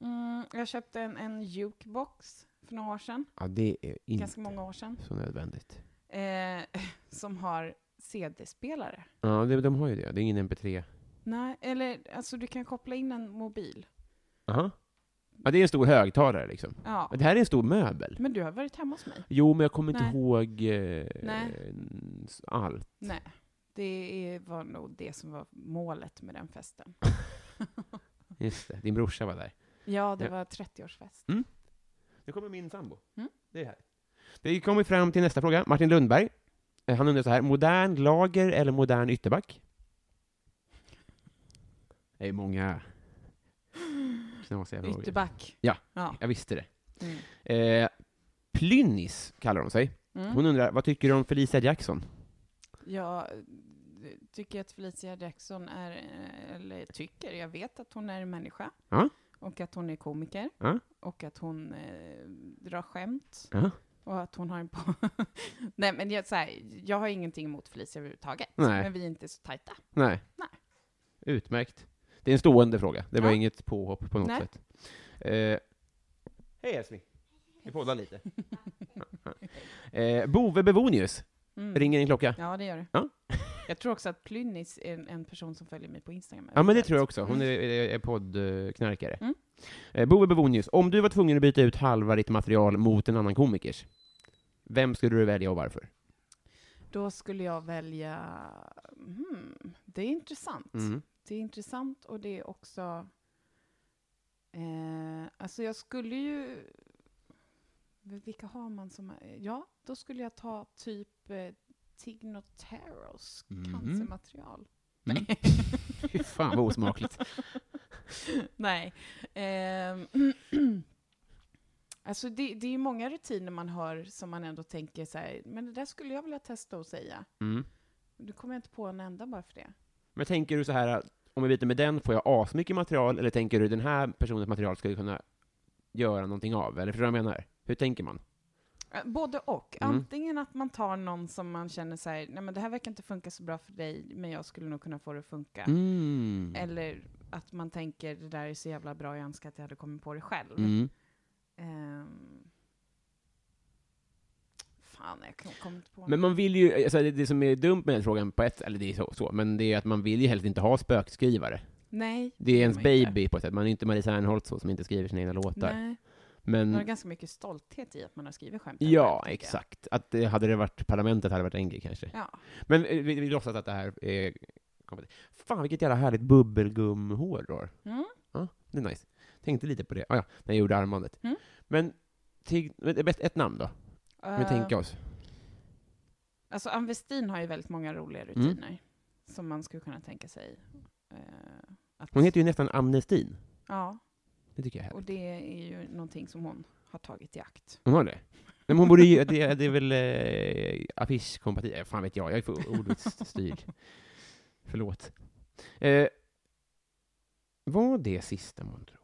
Speaker 2: Mm, jag köpte en, en jukebox för några år sedan,
Speaker 1: Ja, det är inte
Speaker 2: ganska många år sedan,
Speaker 1: så nödvändigt.
Speaker 2: eh, som har CD-spelare.
Speaker 1: Ja, de, de har ju det. Det är ingen MP3.
Speaker 2: Nej, eller alltså du kan koppla in en mobil.
Speaker 1: Aha. Ja, det är en stor högtalare liksom.
Speaker 2: Ja.
Speaker 1: Det här är en stor möbel.
Speaker 2: Men du har varit hemma hos mig.
Speaker 1: Jo, men jag kommer inte
Speaker 2: Nej.
Speaker 1: ihåg eh,
Speaker 2: Nej.
Speaker 1: allt.
Speaker 2: Nej, det är- var nog det som var målet med den festen.
Speaker 1: Just det, din brorsa var där.
Speaker 2: Ja, det
Speaker 1: Ja.
Speaker 2: var 30-årsfest.
Speaker 1: Nu kommer min sambo.
Speaker 2: Mm.
Speaker 1: Det är här. Vi kommer fram till nästa fråga. Martin Lundberg. Eh, Han undrar så här. Modern lager eller modern ytterback? Det är många knasiga frågor.
Speaker 2: Ytterback.
Speaker 1: Ja.
Speaker 2: ja.
Speaker 1: Jag visste det.
Speaker 2: Mm.
Speaker 1: Eh, Plynnis kallar hon sig.
Speaker 2: Mm.
Speaker 1: Hon undrar, vad tycker du om Felicia Jackson?
Speaker 2: Jag eh, tycker att Felicia Jackson är, eh, eller tycker, jag vet att hon är en människa.
Speaker 1: Ja.
Speaker 2: Och att hon är komiker.
Speaker 1: Ja.
Speaker 2: Och att hon eh, drar skämt.
Speaker 1: Ja.
Speaker 2: Och att hon har en på... Nej, men jag, så här, jag har ingenting emot Felicia överhuvudtaget.
Speaker 1: Nej.
Speaker 2: Men vi är inte så tajta.
Speaker 1: Nej.
Speaker 2: Nej.
Speaker 1: Utmärkt. Det är en stående fråga. Det var
Speaker 2: Ja.
Speaker 1: inget påhopp på något
Speaker 2: Nej.
Speaker 1: sätt. Eh, Hej älskling. Vi poddar lite. eh, Bove Bevonius.
Speaker 2: Mm.
Speaker 1: Ringer en klocka?
Speaker 2: Ja, det gör det.
Speaker 1: Ja.
Speaker 2: Jag tror också att Plynnis är en, en person som följer mig på Instagram.
Speaker 1: Ja, men det tror jag också. Hon är, är är poddknarkare.
Speaker 2: Mm.
Speaker 1: Eh, Bove Bevonius, om du var tvungen att byta ut halva ditt material mot en annan komikers, vem skulle du välja och varför?
Speaker 2: Då skulle jag välja... Hmm, det är intressant.
Speaker 1: Mm.
Speaker 2: Det är intressant och det är också... Eh, alltså jag skulle ju... Vilka har man som... Ja, då skulle jag ta typ eh, Tigno Taros
Speaker 1: Mhm.
Speaker 2: cancermaterial.
Speaker 1: Mm.
Speaker 2: Nej.
Speaker 1: Fy fan vad osmakligt.
Speaker 2: Nej. Ehm, alltså det, det är ju många rutiner man hör som man ändå tänker så här, men det där skulle jag vilja testa och säga.
Speaker 1: Mm.
Speaker 2: Nu kommer jag inte på en enda bara för det.
Speaker 1: Men tänker du så här, att om jag byter med den, får jag asmycket material, eller tänker du den här personens material ska jag kunna göra någonting av? Eller förstår du vad jag menar? Hur tänker man?
Speaker 2: Eh, Både och.
Speaker 1: Mm.
Speaker 2: Antingen att man tar någon som man känner så här, nej men det här verkar inte funka så bra för dig, men jag skulle nog kunna få det att funka.
Speaker 1: Mm.
Speaker 2: Eller att man tänker, det där är så jävla bra, jag önskar att jag hade kommit på det själv.
Speaker 1: Mm.
Speaker 2: Ehm. Fan, jag kom- kommer inte på
Speaker 1: Men man vill ju, alltså det, det som är dumt med den frågan på ett, eller det är så, så, men det är att man vill ju helst inte ha spökskrivare.
Speaker 2: Nej.
Speaker 1: Det är ens
Speaker 2: kommer jag inte.
Speaker 1: baby på ett sätt, man är inte Marie Serneholt så, som inte skriver sina egna låtar.
Speaker 2: Nej. Man har
Speaker 1: Men,
Speaker 2: ganska mycket stolthet i att man har skrivit skämt.
Speaker 1: Mm. ja,
Speaker 2: tänker jag.
Speaker 1: exakt. Att det, hade det varit parlamentet hade det varit en grej kanske.
Speaker 2: Ja.
Speaker 1: Men eh, vi, vi låtsas att det här är kompetent. Fan vilket jävla härligt bubbelgumhår du har.
Speaker 2: Mm.
Speaker 1: Ja, det är nice. Tänkte lite på det, ah, ja, när jag gjorde armbandet.
Speaker 2: Mm.
Speaker 1: Men, till, men det är bäst ett namn då, om vi
Speaker 2: Eh,
Speaker 1: tänker oss.
Speaker 2: Alltså, Ann Westin har ju väldigt många
Speaker 1: Mm.
Speaker 2: roliga rutiner som man skulle kunna tänka sig. eh, att,
Speaker 1: Hon heter ju nästan Amnestin.
Speaker 2: Ja,
Speaker 1: Det tycker jag är
Speaker 2: och
Speaker 1: härligt.
Speaker 2: det är ju någonting som hon har tagit i akt.
Speaker 1: Hon har det? Nej, men hon borde ju, det, det är väl eh, affischkompatibelt, Eh, fan vet jag, jag är för ordvitsstyrd. Förlåt. Eh, var det sista man tror?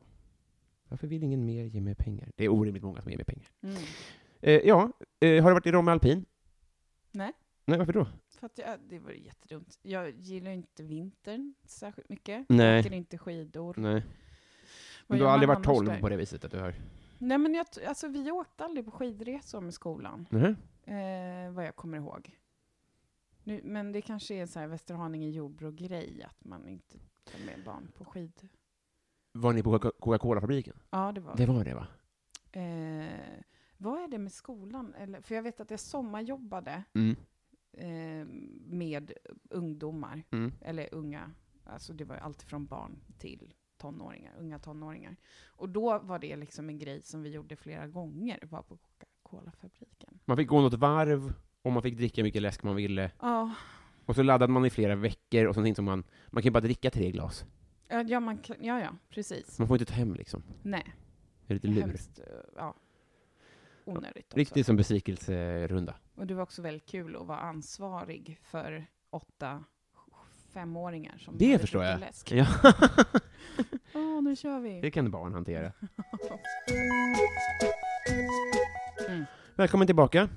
Speaker 1: Varför vill ingen mer ge mig pengar? Det är orimligt många som ger mig pengar.
Speaker 2: Mm.
Speaker 1: Eh, ja, eh, har du varit i Romme Alpin?
Speaker 2: Nej.
Speaker 1: Nej, varför då?
Speaker 2: För att jag, det var jättedumt. Jag gillar ju inte vintern särskilt mycket.
Speaker 1: Nej.
Speaker 2: Jag åker inte skidor.
Speaker 1: Nej.
Speaker 2: Vad
Speaker 1: Men du
Speaker 2: gör
Speaker 1: har aldrig
Speaker 2: man
Speaker 1: varit
Speaker 2: annars
Speaker 1: 12
Speaker 2: där?
Speaker 1: på det viset att du har...
Speaker 2: Nej, men jag, t- alltså, vi åkte aldrig på skidresor med skolan.
Speaker 1: Mhm.
Speaker 2: eh, vad jag kommer ihåg. Nu, men det kanske är en så här Västerhaninge Jordbro-grej, att man inte tar med barn på skid.
Speaker 1: Var ni på Coca- Coca-Cola-fabriken?
Speaker 2: Ja, det var
Speaker 1: Det var det, va?
Speaker 2: Eh, vad är det med skolan? Eller, för jag vet att jag sommarjobbade
Speaker 1: Mm.
Speaker 2: eh, med ungdomar,
Speaker 1: Mm.
Speaker 2: eller unga, alltså det var ju allt från barn till tonåringar, unga tonåringar. Och då var det liksom en grej som vi gjorde flera gånger, var på Coca-Cola-fabriken.
Speaker 1: Man fick gå något varv, och man fick dricka mycket läsk man ville.
Speaker 2: Ja,
Speaker 1: Och så laddade man i flera veckor, och sånt som man... Man kan ju bara dricka tre glas.
Speaker 2: ja, ja, man kan, ja, ja, precis.
Speaker 1: Man får inte ta hem, liksom.
Speaker 2: Nej.
Speaker 1: Det är lite lur.
Speaker 2: Hemskt, eh, ja. Onödigt också.
Speaker 1: Riktigt som besvikelserunda.
Speaker 2: Och det var också väldigt kul att vara ansvarig för åtta femåringar som
Speaker 1: Det
Speaker 2: hade
Speaker 1: förstår
Speaker 2: druckit
Speaker 1: jag.
Speaker 2: läsk.
Speaker 1: Ja.
Speaker 2: Åh, nu kör vi!
Speaker 1: det kan barn hantera.
Speaker 2: Mm.
Speaker 1: Välkommen tillbaka.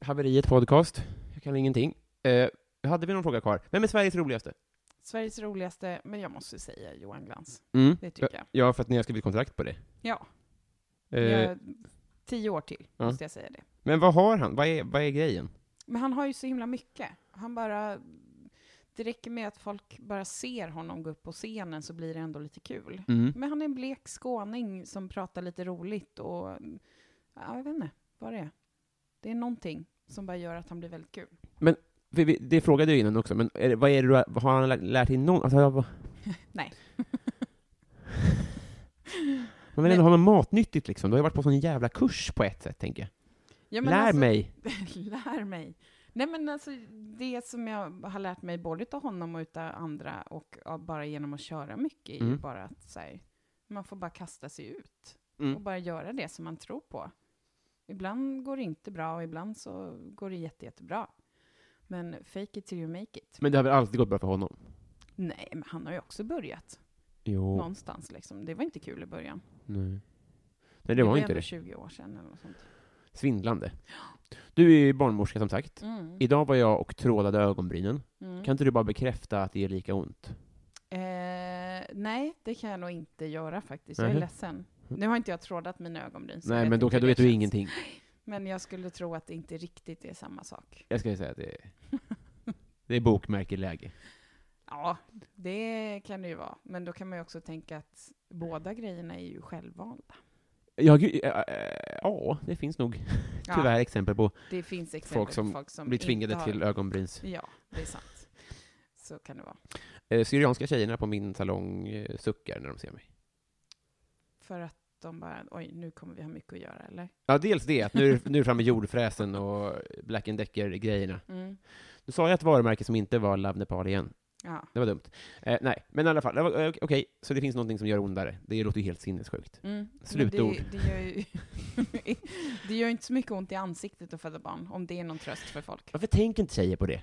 Speaker 1: Haveriet podcast. Jag kan ingenting. Eh, hade vi någon fråga kvar? Vem är Sveriges roligaste?
Speaker 2: Sveriges roligaste, men jag måste säga Johan Glans.
Speaker 1: Mm.
Speaker 2: Det tycker jag.
Speaker 1: Ja, för att ni har skrivit kontrakt på det.
Speaker 2: Ja,
Speaker 1: Eh,
Speaker 2: jag, tio år till
Speaker 1: ja.
Speaker 2: måste jag säga det.
Speaker 1: Men vad har han? Vad är, vad är grejen?
Speaker 2: Men han har ju så himla mycket. Han bara... Det räcker med att folk bara ser honom gå upp på scenen så blir det ändå lite kul. Men han är en blek skåning som pratar lite roligt och... Ja, jag vet inte vad det är. Det är någonting som bara gör att han blir väldigt kul.
Speaker 1: För vi, det frågade jag innan också, men är det, vad är det du har, vad har han lärt, lärt in någon? Alltså, jag, bara-
Speaker 2: Nej.
Speaker 1: man vill ändå ha något matnyttigt liksom. Du har ju varit på sån jävla kurs på ett sätt, tänker jag.
Speaker 2: Ja,
Speaker 1: Lär
Speaker 2: alltså-
Speaker 1: mig!
Speaker 2: Lär mig. Nej men alltså det som jag har lärt mig både av honom och utav andra och av bara genom att köra mycket är ju
Speaker 1: Mm.
Speaker 2: bara att så här, man får bara kasta sig ut och
Speaker 1: Mm.
Speaker 2: bara göra det som man tror på. Ibland går det inte bra och ibland så går det jätte, jättebra. Men fake it till you make it.
Speaker 1: Men det har väl alltid gått bra för honom?
Speaker 2: Nej, men han har ju också börjat
Speaker 1: Jo.
Speaker 2: någonstans liksom. Det var inte kul i början.
Speaker 1: Nej. Nej, det var
Speaker 2: ju
Speaker 1: inte
Speaker 2: ändå
Speaker 1: det.
Speaker 2: 20 år sedan eller något sånt.
Speaker 1: Svindlande. Du är ju barnmorska som sagt.
Speaker 2: Mm.
Speaker 1: Idag var jag och trålade ögonbrynen.
Speaker 2: Mm.
Speaker 1: Kan inte du bara bekräfta att det är lika ont?
Speaker 2: Eh, nej, det kan jag nog inte göra faktiskt. Jag är
Speaker 1: Nähä.
Speaker 2: ledsen. Nu har inte jag trådat mina ögonbryn. så jag
Speaker 1: Nej,
Speaker 2: vet
Speaker 1: men då
Speaker 2: inte
Speaker 1: kan,
Speaker 2: hur
Speaker 1: då
Speaker 2: det
Speaker 1: vet du
Speaker 2: känns.
Speaker 1: ingenting.
Speaker 2: Men jag skulle tro att det inte riktigt är samma sak.
Speaker 1: Jag ska ju säga att det är, det är bokmärkeläge.
Speaker 2: Ja, det kan det ju vara. Men då kan man ju också tänka att båda grejerna är ju självvalda.
Speaker 1: Ja, gud, äh, äh, ja, det finns nog
Speaker 2: Ja,
Speaker 1: tyvärr exempel på
Speaker 2: det finns exempel
Speaker 1: folk
Speaker 2: på
Speaker 1: som
Speaker 2: folk som
Speaker 1: blir
Speaker 2: inte
Speaker 1: tvingade
Speaker 2: har...
Speaker 1: till ögonbryns.
Speaker 2: Ja, det är sant. Så kan det vara.
Speaker 1: Eh, Syrianska tjejerna på min salong eh, suckar när de ser mig.
Speaker 2: För att de bara, oj, nu kommer vi ha mycket att göra, eller?
Speaker 1: Ja, dels det, att nu, är- nu är det framme jordfräsen och Black Decker-grejerna.
Speaker 2: Mm.
Speaker 1: Nu sa jag ett varumärke som inte var Love Nepal igen.
Speaker 2: Ja.
Speaker 1: Det var dumt. Eh, nej, men i alla fall, det var- eh, okej, så det finns någonting som gör ondare. Det låter ju helt sinnessjukt.
Speaker 2: Mm. Men
Speaker 1: Slutord.
Speaker 2: Det, det, gör ju, det gör ju inte så mycket ont i ansiktet att föda barn, om det är någon tröst för folk.
Speaker 1: Varför tänker inte tjejer på det?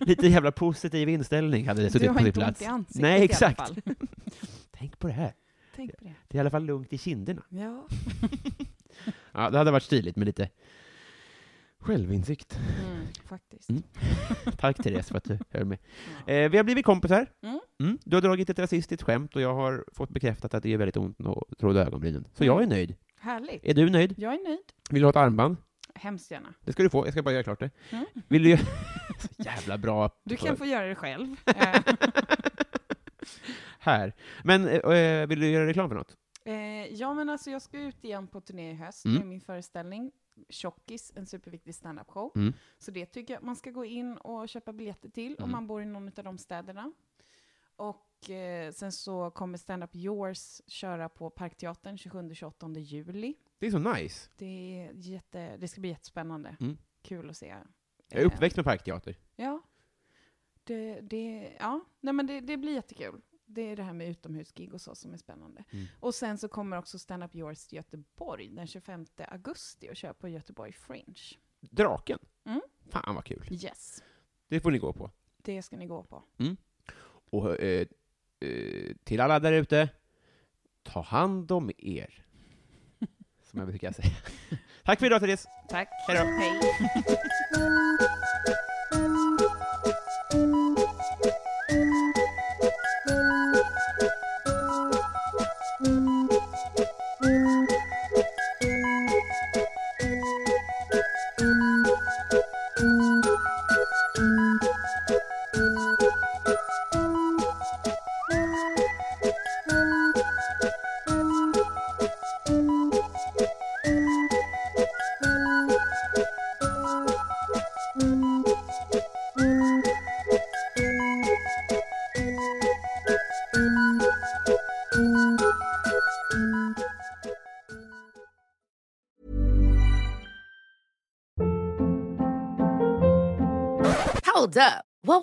Speaker 1: Lite jävla positiv inställning hade det
Speaker 2: Du
Speaker 1: suttit på
Speaker 2: har
Speaker 1: sin
Speaker 2: inte ont
Speaker 1: plats.
Speaker 2: i ansiktet
Speaker 1: Nej, exakt.
Speaker 2: i alla fall.
Speaker 1: Tänk på det här.
Speaker 2: Tänk på det.
Speaker 1: Det är i alla fall lugnt i kinderna.
Speaker 2: Ja.
Speaker 1: Ja, det hade varit stiligt med lite självinsikt.
Speaker 2: Mm, faktiskt.
Speaker 1: Mm. Tack Therese för att du hör med.
Speaker 2: Ja.
Speaker 1: Eh, vi har blivit kompisar.
Speaker 2: Mm.
Speaker 1: Mm. Du har dragit ett rasistiskt skämt och jag har fått bekräftat att det gör väldigt ont att tråda ögonbrynen. Så jag är nöjd.
Speaker 2: Härligt.
Speaker 1: Är du nöjd?
Speaker 2: Jag är nöjd.
Speaker 1: Vill du ha ett armband?
Speaker 2: Hemskt gärna.
Speaker 1: Det ska du få. Jag ska bara göra klart det.
Speaker 2: Mm.
Speaker 1: Vill du göra... Så jävla bra.
Speaker 2: Du kan få göra det själv. Eh,
Speaker 1: Här. Men eh, eh, vill du göra reklam för något?
Speaker 2: eh, ja, men alltså jag ska ut igen på turné i höst
Speaker 1: Mm.
Speaker 2: med min föreställning Tjockis, en superviktig standup-show.
Speaker 1: Mm.
Speaker 2: Så det tycker jag att man ska gå in och köpa biljetter till om
Speaker 1: Mm.
Speaker 2: man bor i någon av de städerna. Och eh, sen så kommer Stand Up Yours köra på Parkteatern 27-28 juli.
Speaker 1: Det är så nice.
Speaker 2: Det, är jätte, det ska bli jättespännande.
Speaker 1: Mm.
Speaker 2: Kul att se.
Speaker 1: Jag är
Speaker 2: Eh,
Speaker 1: uppväxt med parkteater.
Speaker 2: Ja. Det, det, ja. Nej, men det, det blir jättekul. Det är det här med utomhusgig och så som är spännande.
Speaker 1: Mm.
Speaker 2: Och sen så kommer också Stand Up Yours till Göteborg den 25 augusti och kör på Göteborg Fringe.
Speaker 1: Draken.
Speaker 2: Mm.
Speaker 1: Fan vad kul.
Speaker 2: Yes,
Speaker 1: Det får ni gå på.
Speaker 2: det ska ni gå på.
Speaker 1: Och eh, eh, till alla där ute, ta hand om er. Som jag brukar säga. Tack för idag Therese.
Speaker 2: Tack.
Speaker 1: Hej då.
Speaker 2: Hej.
Speaker 4: Hold up. What